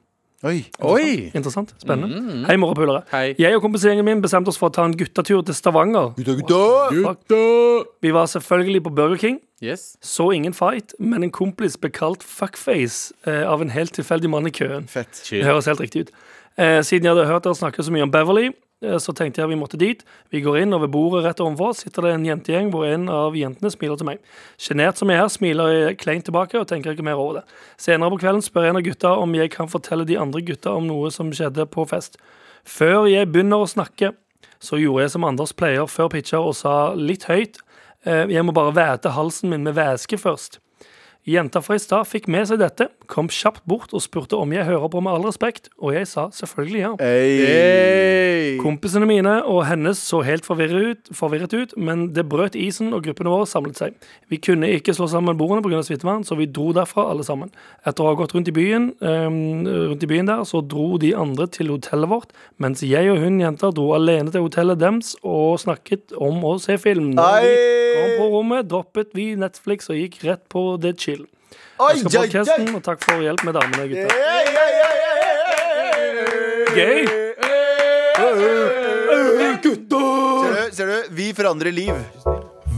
S2: Oi.
S3: Oi!
S4: Interessant. Spennende. Hei, morapulere.
S3: Hei.
S4: Jeg og kompisgjengen min bestemte oss for å ta en guttetur til Stavanger.
S2: Gutta, gutta!
S3: Gutta!
S4: Vi var selvfølgelig på Burger King,
S3: Yes.
S4: så ingen fight, men en kompis ble kalt fuckface eh, av en helt tilfeldig mann i køen.
S2: Fett.
S4: Det høres helt riktig ut. Eh, siden jeg hadde hørt dere snakke så mye om Beverly, eh, så tenkte jeg vi måtte dit. Vi går inn, og ved bordet rett overfor oss sitter det en jentegjeng hvor en av jentene smiler til meg. Sjenert som jeg er, smiler jeg kleint tilbake og tenker ikke mer over det. Senere på kvelden spør en av gutta om jeg kan fortelle de andre gutta om noe som skjedde på fest. Før jeg begynner å snakke, så gjorde jeg som Anders pleier før pitcher og sa litt høyt eh, Jeg må bare væte halsen min med væske først. Jenta fra i stad fikk med seg dette, kom kjapt bort og spurte om jeg hører på med all respekt, og jeg sa selvfølgelig ja.
S2: Hey.
S4: Kompisene mine og hennes så helt forvirret ut, forvirret ut, men det brøt isen, og gruppene våre samlet seg. Vi kunne ikke slå sammen bordene pga. smittevern, så vi dro derfra alle sammen. Etter å ha gått rundt i byen, ehm, rundt i byen der, så dro de andre til hotellet vårt, mens jeg og hun jenta dro alene til hotellet deres og snakket om å se film. Når vi
S2: Ei.
S4: kom på rommet, droppet vi Netflix og gikk rett på det chill.
S2: Oi,
S4: Jeg skal
S2: oi, oi.
S4: podcasten, og takk for hjelp med damene og gutta.
S2: Hey, hey, hey, hey, hey, hey.
S4: Gøy!
S2: Ser du, ser du, vi forandrer liv.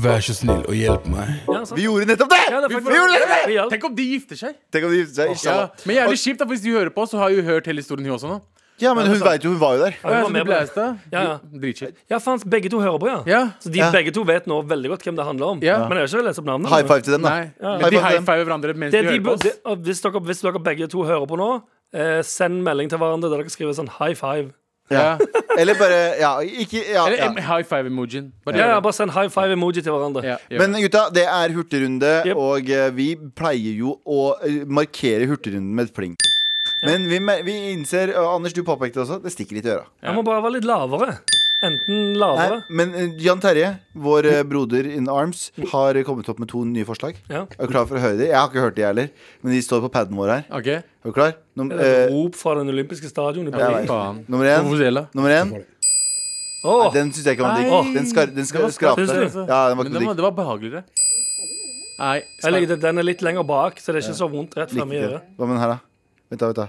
S6: Vær så snill og hjelp meg.
S4: Ja, sant.
S2: Vi gjorde nettopp det!
S4: Ja, det er
S2: vi gjorde nettopp det!
S4: faktisk- Hjelp.
S3: Tenk om de gifter seg!
S2: Tenk om de gifter seg. ikke
S3: Ja,
S2: sant?
S3: men jævlig kjipt, da, for hvis de hører på, så har jo hørt hele historien, hun også nå.
S2: Ja, men hun veit jo, hun var jo der.
S4: Ja,
S3: Ja,
S4: hun var
S3: så
S4: med
S3: de
S4: på
S3: ble
S4: det.
S3: leste.
S4: Ja, ja.
S3: Dritkjipt.
S4: Ja, faen, begge to hører på, ja.
S3: Ja.
S4: Så de
S2: Ja.
S4: begge to vet nå veldig godt hvem det handler om.
S3: Ja.
S4: Men jeg har ikke lest opp navnet.
S2: High five til dem,
S3: Nei.
S2: da.
S3: Men de
S2: High five
S3: high
S2: dem.
S3: fiver hverandre mens
S4: Det
S3: de
S4: de
S3: hører på
S4: burde,
S3: oss.
S4: og hvis, dere, hvis dere begge to hører på nå, eh, send melding til hverandre der dere skriver sånn high five.
S3: Ja.
S2: Eller bare Ja, ikke ja,
S3: Eller
S2: ja.
S3: em- high five-emojien. Bare
S4: Ja,
S3: gjør
S4: ja,
S3: det.
S4: Bare send high five-emoji til hverandre.
S3: Ja, gjør
S2: Men
S3: det.
S2: gutta, det er hurtigrunde,
S4: Jep.
S2: og eh, vi pleier jo å eh, markere hurtigrunden med et pling. Men vi, mer- vi innser, og Anders, du påpekte det også, det stikker litt i øra.
S4: Jeg må bare være litt lavere. Enten
S2: Nei,
S4: lavere
S2: men eh, Jan Terje, vår eh, broder in arms, har kommet opp med to nye forslag.
S4: ja.
S2: Er du klar for å høre dem? Jeg har ikke hørt de heller, men de står på paden vår her.
S3: OK.
S2: Er du klar? Num
S4: Det er et
S2: eh,
S4: Rop fra den olympiske stadion i
S2: jeg
S4: Berlin.
S2: vet.
S3: Faen.
S2: nummer én.
S3: Vuvuzela.
S2: Nummer én.
S4: Åh,
S2: Den syns jeg ikke var
S3: Nei.
S2: digg. Den, skar, den skar,
S3: Den var
S2: skrapte.
S4: skarp, synes du?
S2: Ja, den var ikke
S3: Men det
S2: noe
S3: var,
S2: digg.
S3: det var behageligere. Nei.
S4: eller,
S3: skarp.
S4: den- den er litt lenger bak, så det er ikke så vondt rett fremme i
S2: Likte ikke.
S4: øret.
S2: Hva med den her, da? Vent, da. vent da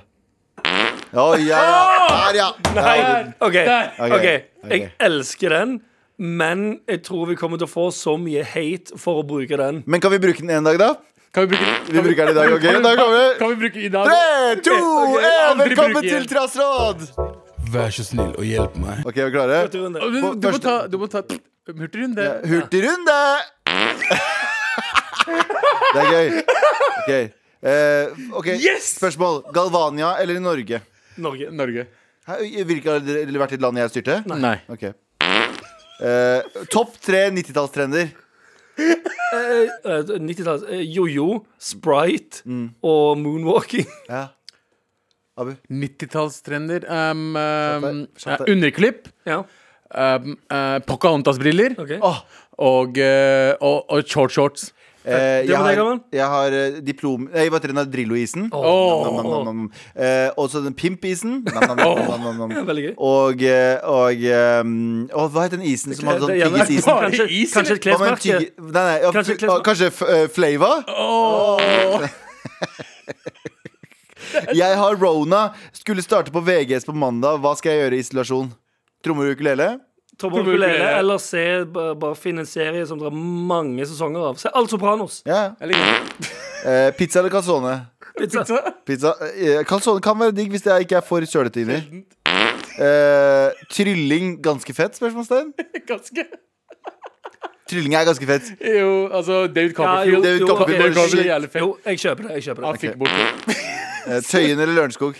S2: Å, ja, ja. Der, ja. Der, var den.
S4: OK.
S2: Ok,
S4: ok Jeg
S2: ok.
S4: elsker den, men jeg tror vi kommer til å få så mye hate for å bruke den.
S2: Men kan vi bruke den en dag, da?
S3: Kan vi bruke
S2: Vi bruker den i dag, OK?
S3: Kan vi-
S2: Da kommer
S3: Kan vi bruke i dag?
S2: Tre, to,
S3: Ok,
S2: én,
S3: aldri
S2: velkommen
S3: bruke
S2: til
S3: igjen.
S2: Trassråd!
S6: Vær så snill og hjelp meg.
S2: OK, er vi klare?
S4: Hurtigrunde.
S3: Du, du, må
S2: Første-
S3: ta, du må ta Hurtigrunde. [laughs]
S2: Hurtigrunde! Det er gøy. OK. Eh, ok, Spørsmål. Galvania eller Norge?
S4: Norge.
S3: Norge.
S2: Hæ, Hvilke har dere vært i landet jeg styrte?
S3: Nei.
S2: Ok Eh, Topp tre 90-tallstrender.
S4: Eh, 90-tallet. eh, Jojo, Sprite
S2: Mm.
S4: og moonwalking. [laughs]
S2: Ja. Abu?
S3: 90-tallstrender. Um, um,
S2: Skjønte.
S3: eh, underklipp.
S4: ja,
S3: Um, eh, Pocahontas-briller.
S4: ok
S2: Åh,
S3: Og, eh, og, og short shorts.
S2: eh,
S4: Det
S2: jeg,
S4: var
S2: har,
S4: deg, Galvan.
S2: jeg har eh, diplom... Nei, hva heter den? da? Drillo-isen.
S3: Åh.
S2: Nam, nam, nam, nam, nam. Eh, og så den pimp-isen. Nam, nam, nam, nam, nam, nam.
S4: Veldig gøy.
S2: Og, eh, og eh, Åh, Hva het den isen som hadde sånn
S4: Det- det-
S2: tyggis-isen?
S3: Bare
S4: Kanskje,
S3: is,
S4: kanskje et
S2: Hva med en
S4: [laughs] klesmerke?
S2: tygge- Nei, nei, ja,
S4: Kanskje
S2: kanskje,
S4: et klesmerke.
S2: kanskje f eh, Flava? Jeg har Rona. Skulle starte på VGS på mandag. Hå skal jeg gjøre i isolasjon? Trommer og ukulele?
S4: Tommer ukulele, eller se, bare, bare finne en serie som det er mange sesonger av. Se Alt Sopranos.
S2: Ja. ja.
S3: Jeg liker det.
S2: Eh, pizza eller calzone?
S4: Pizza.
S2: Pizza eh, Calzone kan være digg hvis det ikke er for kjølete inni. Eh, trylling ganske fett? spørsmålstegn
S3: Ganske.
S2: Trylling er ganske fett.
S3: Jo, altså David
S4: Ja,
S3: Copperfield.
S2: David
S4: ok,
S2: Copperfield
S3: David Copperfield er
S4: shit.
S3: jævlig fet.
S4: jo, jeg kjøper det. Jeg kjøper det.
S3: Han fikk bort
S2: Eh, Tøyen eller Lørenskog?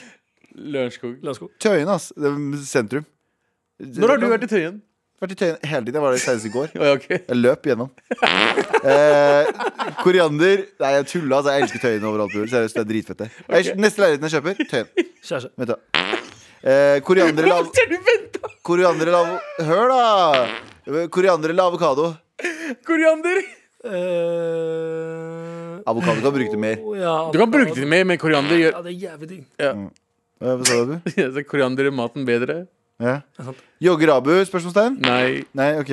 S3: Lørenskog.
S4: La oss gå.
S2: Tøyen, ass. Det er sentrum.
S3: Når har du vært i Tøyen?
S2: Vært i Tøyen hele tiden. Jeg var der senest i går.
S3: Å, ja, [laughs] ok.
S2: Jeg løp gjennom. Eh, koriander Nei, jeg tulla. Altså, jeg elsker Tøyen overalt. bror. Seriøst, det er dritfett. det. Jeg, neste leiligheten jeg kjøper, Tøyen.
S4: Kjære.
S2: Vent, da. Eh, koriander eller av-
S3: Ser du venta?
S2: Koriander eller av- Hør, da! Koriander eller avokado?
S3: Koriander?
S4: Eh,
S2: Avokado kan bruke det mer.
S4: å, ja,
S3: Du kan bruke det mer, men koriander gjør
S4: Ja, det er jævlig digg.
S2: Eh, Hva sa du? Abu?
S3: altså, Koriander gjør maten bedre. [laughs]
S2: Ja. Jogger Abu? Spørsmålstegn?
S3: Nei.
S2: Nei, OK.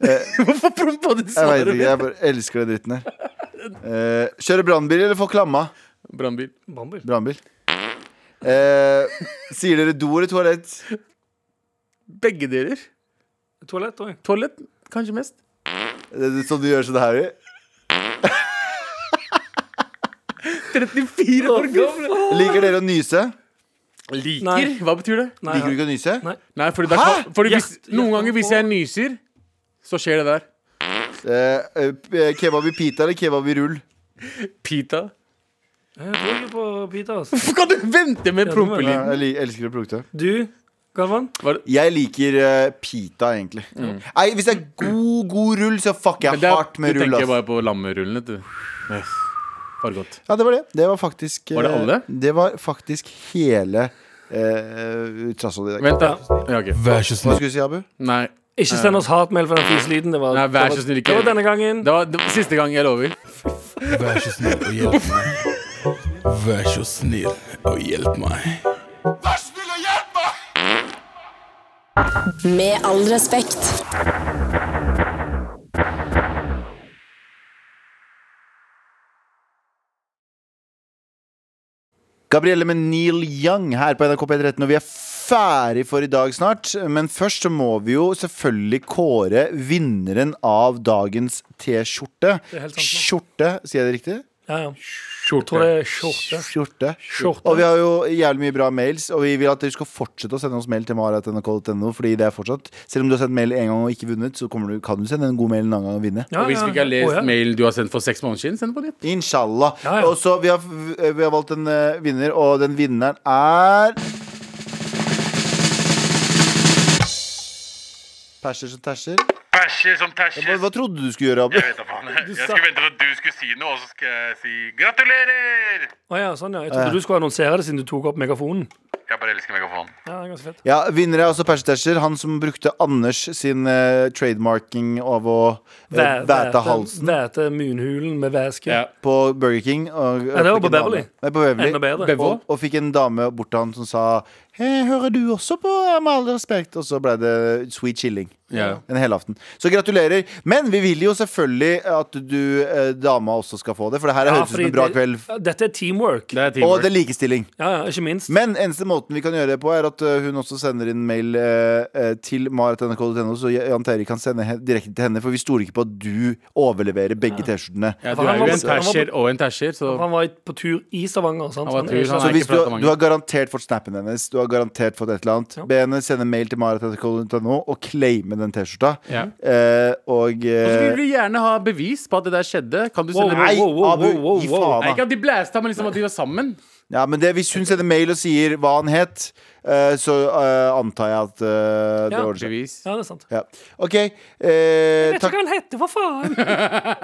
S3: [laughs] Hvorfor prompa du
S2: Jeg vet
S3: svaret
S2: ikke.
S3: mitt?
S2: Jeg bare elsker den dritten her. Eh, kjøre brannbil eller få klamma?
S3: Brannbil.
S4: Bambil.
S2: Brannbil. Eh, sier dere do eller toalett?
S3: Begge deler.
S4: Toalett òg.
S3: Toalett kanskje mest.
S2: Det er Sånn du gjør sånn her? i.
S3: 34 år gammel!
S2: Liker dere å nyse?
S3: Liker?
S8: Nei.
S3: Hva betyr det?
S8: Nei,
S2: Liker du ikke å nyse?
S8: Nei.
S3: Nei, fordi, det er,
S2: Hæ?
S3: ka- fordi hvis,
S8: Hjert-
S3: noen
S8: hjertet
S3: ganger hvis jeg nyser, så skjer det der.
S2: Eh, eh, p- kebab i pita eller kebab i rull?
S3: Pita.
S8: Jeg tror ikke på pita,
S4: altså.
S8: ass.
S3: Hvorfor kan du vente med
S8: Ja,
S3: prompelyden?
S2: Jeg li- elsker det produktet.
S8: Du, Galvan?
S2: Jeg liker eh, pita, egentlig. Nei, hvis det er god, god rull, så fucker jeg
S3: Mm. Men det er-
S2: hardt med
S3: Du
S2: rull.
S3: tenker
S2: ass.
S3: bare på lammerullen, vet du. Yes. Bare godt.
S2: Ja, det var det. Det var faktisk eh,
S3: Var det alle?
S2: Det var faktisk hele uh, trasset i dag.
S3: Vent, da. Ja, ok.
S6: Vær
S2: Hva
S6: så snill.
S2: skulle du si, Abu?
S3: Nei.
S8: Ikke send oss hatmail for den fiselyden. Det var,
S3: Nei, vær
S8: det
S3: så
S8: var-
S3: snill, ikke.
S8: Det var denne gangen.
S3: Det var, det var siste gang jeg lover.
S6: Vær så snill og hjelp meg. Vær så snill og hjelp meg.
S1: Med all respekt.
S2: Gabrielle med Neil Young her på NRK P13, og vi er ferdig for i dag snart. Men først så må vi jo selvfølgelig kåre vinneren av dagens T-skjorte.
S8: helt sant, da.
S2: Skjorte, sier jeg det riktig?
S8: Ja, ja. Jeg tror
S3: Skjorte.
S8: det er skjorte.
S2: Skjorte.
S8: Skjorte.
S2: Og vi har jo jævlig mye bra mails, og vi vil at dere skal fortsette å sende oss mail til mara.nrk.no, fordi det er fortsatt Selv om du har sendt mail en gang og ikke vunnet, så kommer du, kan du sende en god mail en annen gang og vinne.
S8: Ja,
S3: Og hvis
S8: ja.
S3: vi ikke har lest
S8: Å, ja.
S3: mailen du har sendt for seks måneder siden, send på nytt.
S2: Inshallah.
S8: Ja, ja.
S2: Og så vi, har- vi har valgt en eh, vinner, og den vinneren er Perser som terser.
S5: Bæsjer som
S2: Hva,
S5: tæsjer.
S2: hva trodde du skulle gjøre, Abu?
S5: Jeg vet da faen. Jeg skulle vente til at du skulle si noe, og så skal jeg si gratulerer!
S8: Å, ja, sånn, ja. Jeg trodde du skulle annonsere det siden du tok opp megafonen.
S5: Jeg bare elsker megafonen.
S8: Ja, det er ganske fett.
S2: Ja, Vinner er også Perser terser. Han som brukte Anders sin eh, trademarking av å eh,
S8: Væ-
S2: væte halsen
S8: Væte munhulen med væske.
S3: Ja.
S2: på Burger King. Og,
S8: Nei, det var
S2: og fikk
S8: på
S2: en dame-
S8: Beverly.
S2: Nei, på Beverly.
S8: Enda bedre.
S3: Bevo?
S2: Og, og fikk en dame bort til han som sa Hei, hører du også på Med all respekt? Og så ble det sweet chilling.
S3: Ja.
S2: En helaften. Så gratulerer. Men vi vil jo selvfølgelig at du, eh, dama, også skal få det. For det her
S8: Ja,
S2: høres ut som
S8: fordi
S2: en bra
S8: det-
S2: kveld.
S8: Ja, Dette er teamwork.
S3: Det er
S2: Og
S3: teamwork.
S2: det er likestilling.
S8: Ja, ja, ikke minst.
S2: Men eneste måten vi kan gjøre det på, er at eh, hun også sender inn mail eh, eh, til marat.nrk.no, så Jan Terje kan sende he- direkte til henne. For vi stoler ikke på at du overleverer begge T-skjortene.
S3: Ja, du er jo en tæsjer og en tæsjer, så
S8: Han var på tur i Stavanger. Sant?
S3: Han var
S8: Han
S3: tur,
S8: er ikke-
S2: Så
S3: han Nei,
S2: Altså, hvis
S3: ikke
S2: du,
S3: fra
S2: du
S3: Stavanger.
S2: har garantert fått snappen hennes, du har garantert fått et eller annet,
S8: Ja.
S2: be henne sende mail til marat.nrk.no og claime den T-skjorta.
S3: Ja.
S2: Eh, og
S3: Og så vil
S2: eh,
S3: vi gjerne ha bevis på at det der skjedde. Kan du
S8: Wow,
S3: sende
S2: Nei,
S8: wow, wow,
S2: Abu,
S8: wow, wow,
S2: gi
S8: wow.
S2: faen,
S3: Nei,
S2: da.
S3: ikke at de blæsta, men liksom at de var sammen.
S2: Ja, men det, hvis hun sender mail og sier hva han het, eh, så eh, antar jeg at eh, det
S8: Ja.
S2: ordner seg.
S3: Bevis.
S8: Ja, det er sant.
S2: Ja. OK. Eh,
S8: Vet ikke
S2: takk,
S8: hva han heter, hva faen?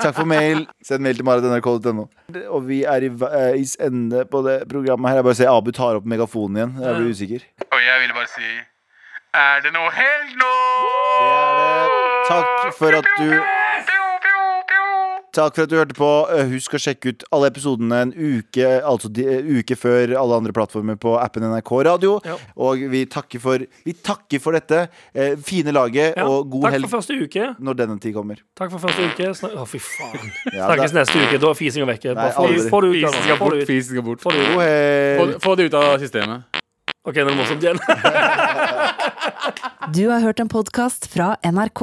S2: takk for mail. Send mail til marit.nrk.no. Og vi er i veis ende på det programmet her. Jeg bare ser Abu tar opp megafonen igjen. Jeg blir usikker.
S5: Og jeg ville bare si Er det noe helg nå?
S2: Det er det. Takk for at du
S5: Pjo, pjo, pjo.
S2: Takk for at du hørte på. Eh, Husk å sjekke ut alle episodene en uke, altså de, uke før alle andre plattformer på appen NRK Radio.
S8: Ja.
S2: Og vi takker for, vi takker for dette eh, fine laget,
S8: Ja.
S2: [laughs] og god
S8: Takk
S2: helg
S8: for første uke.
S2: når denne tid kommer.
S8: Takk for første uke. Snak- Å, fy faen.
S2: Ja,
S8: Snakkes
S2: da-
S8: neste uke. Da er fisinga vekke. Bare
S2: Nei,
S8: få det
S2: aldri.
S8: ut. Få det ut.
S3: Fisen skal
S8: Galvan. Få
S3: bort.
S8: det ut.
S3: Fisen skal bort.
S8: Få det ut.
S2: God helg.
S3: Få, få det ut av systemet.
S8: OK, nå er det morsomt igjen. [laughs]
S1: Du har hørt en podkast fra NRK.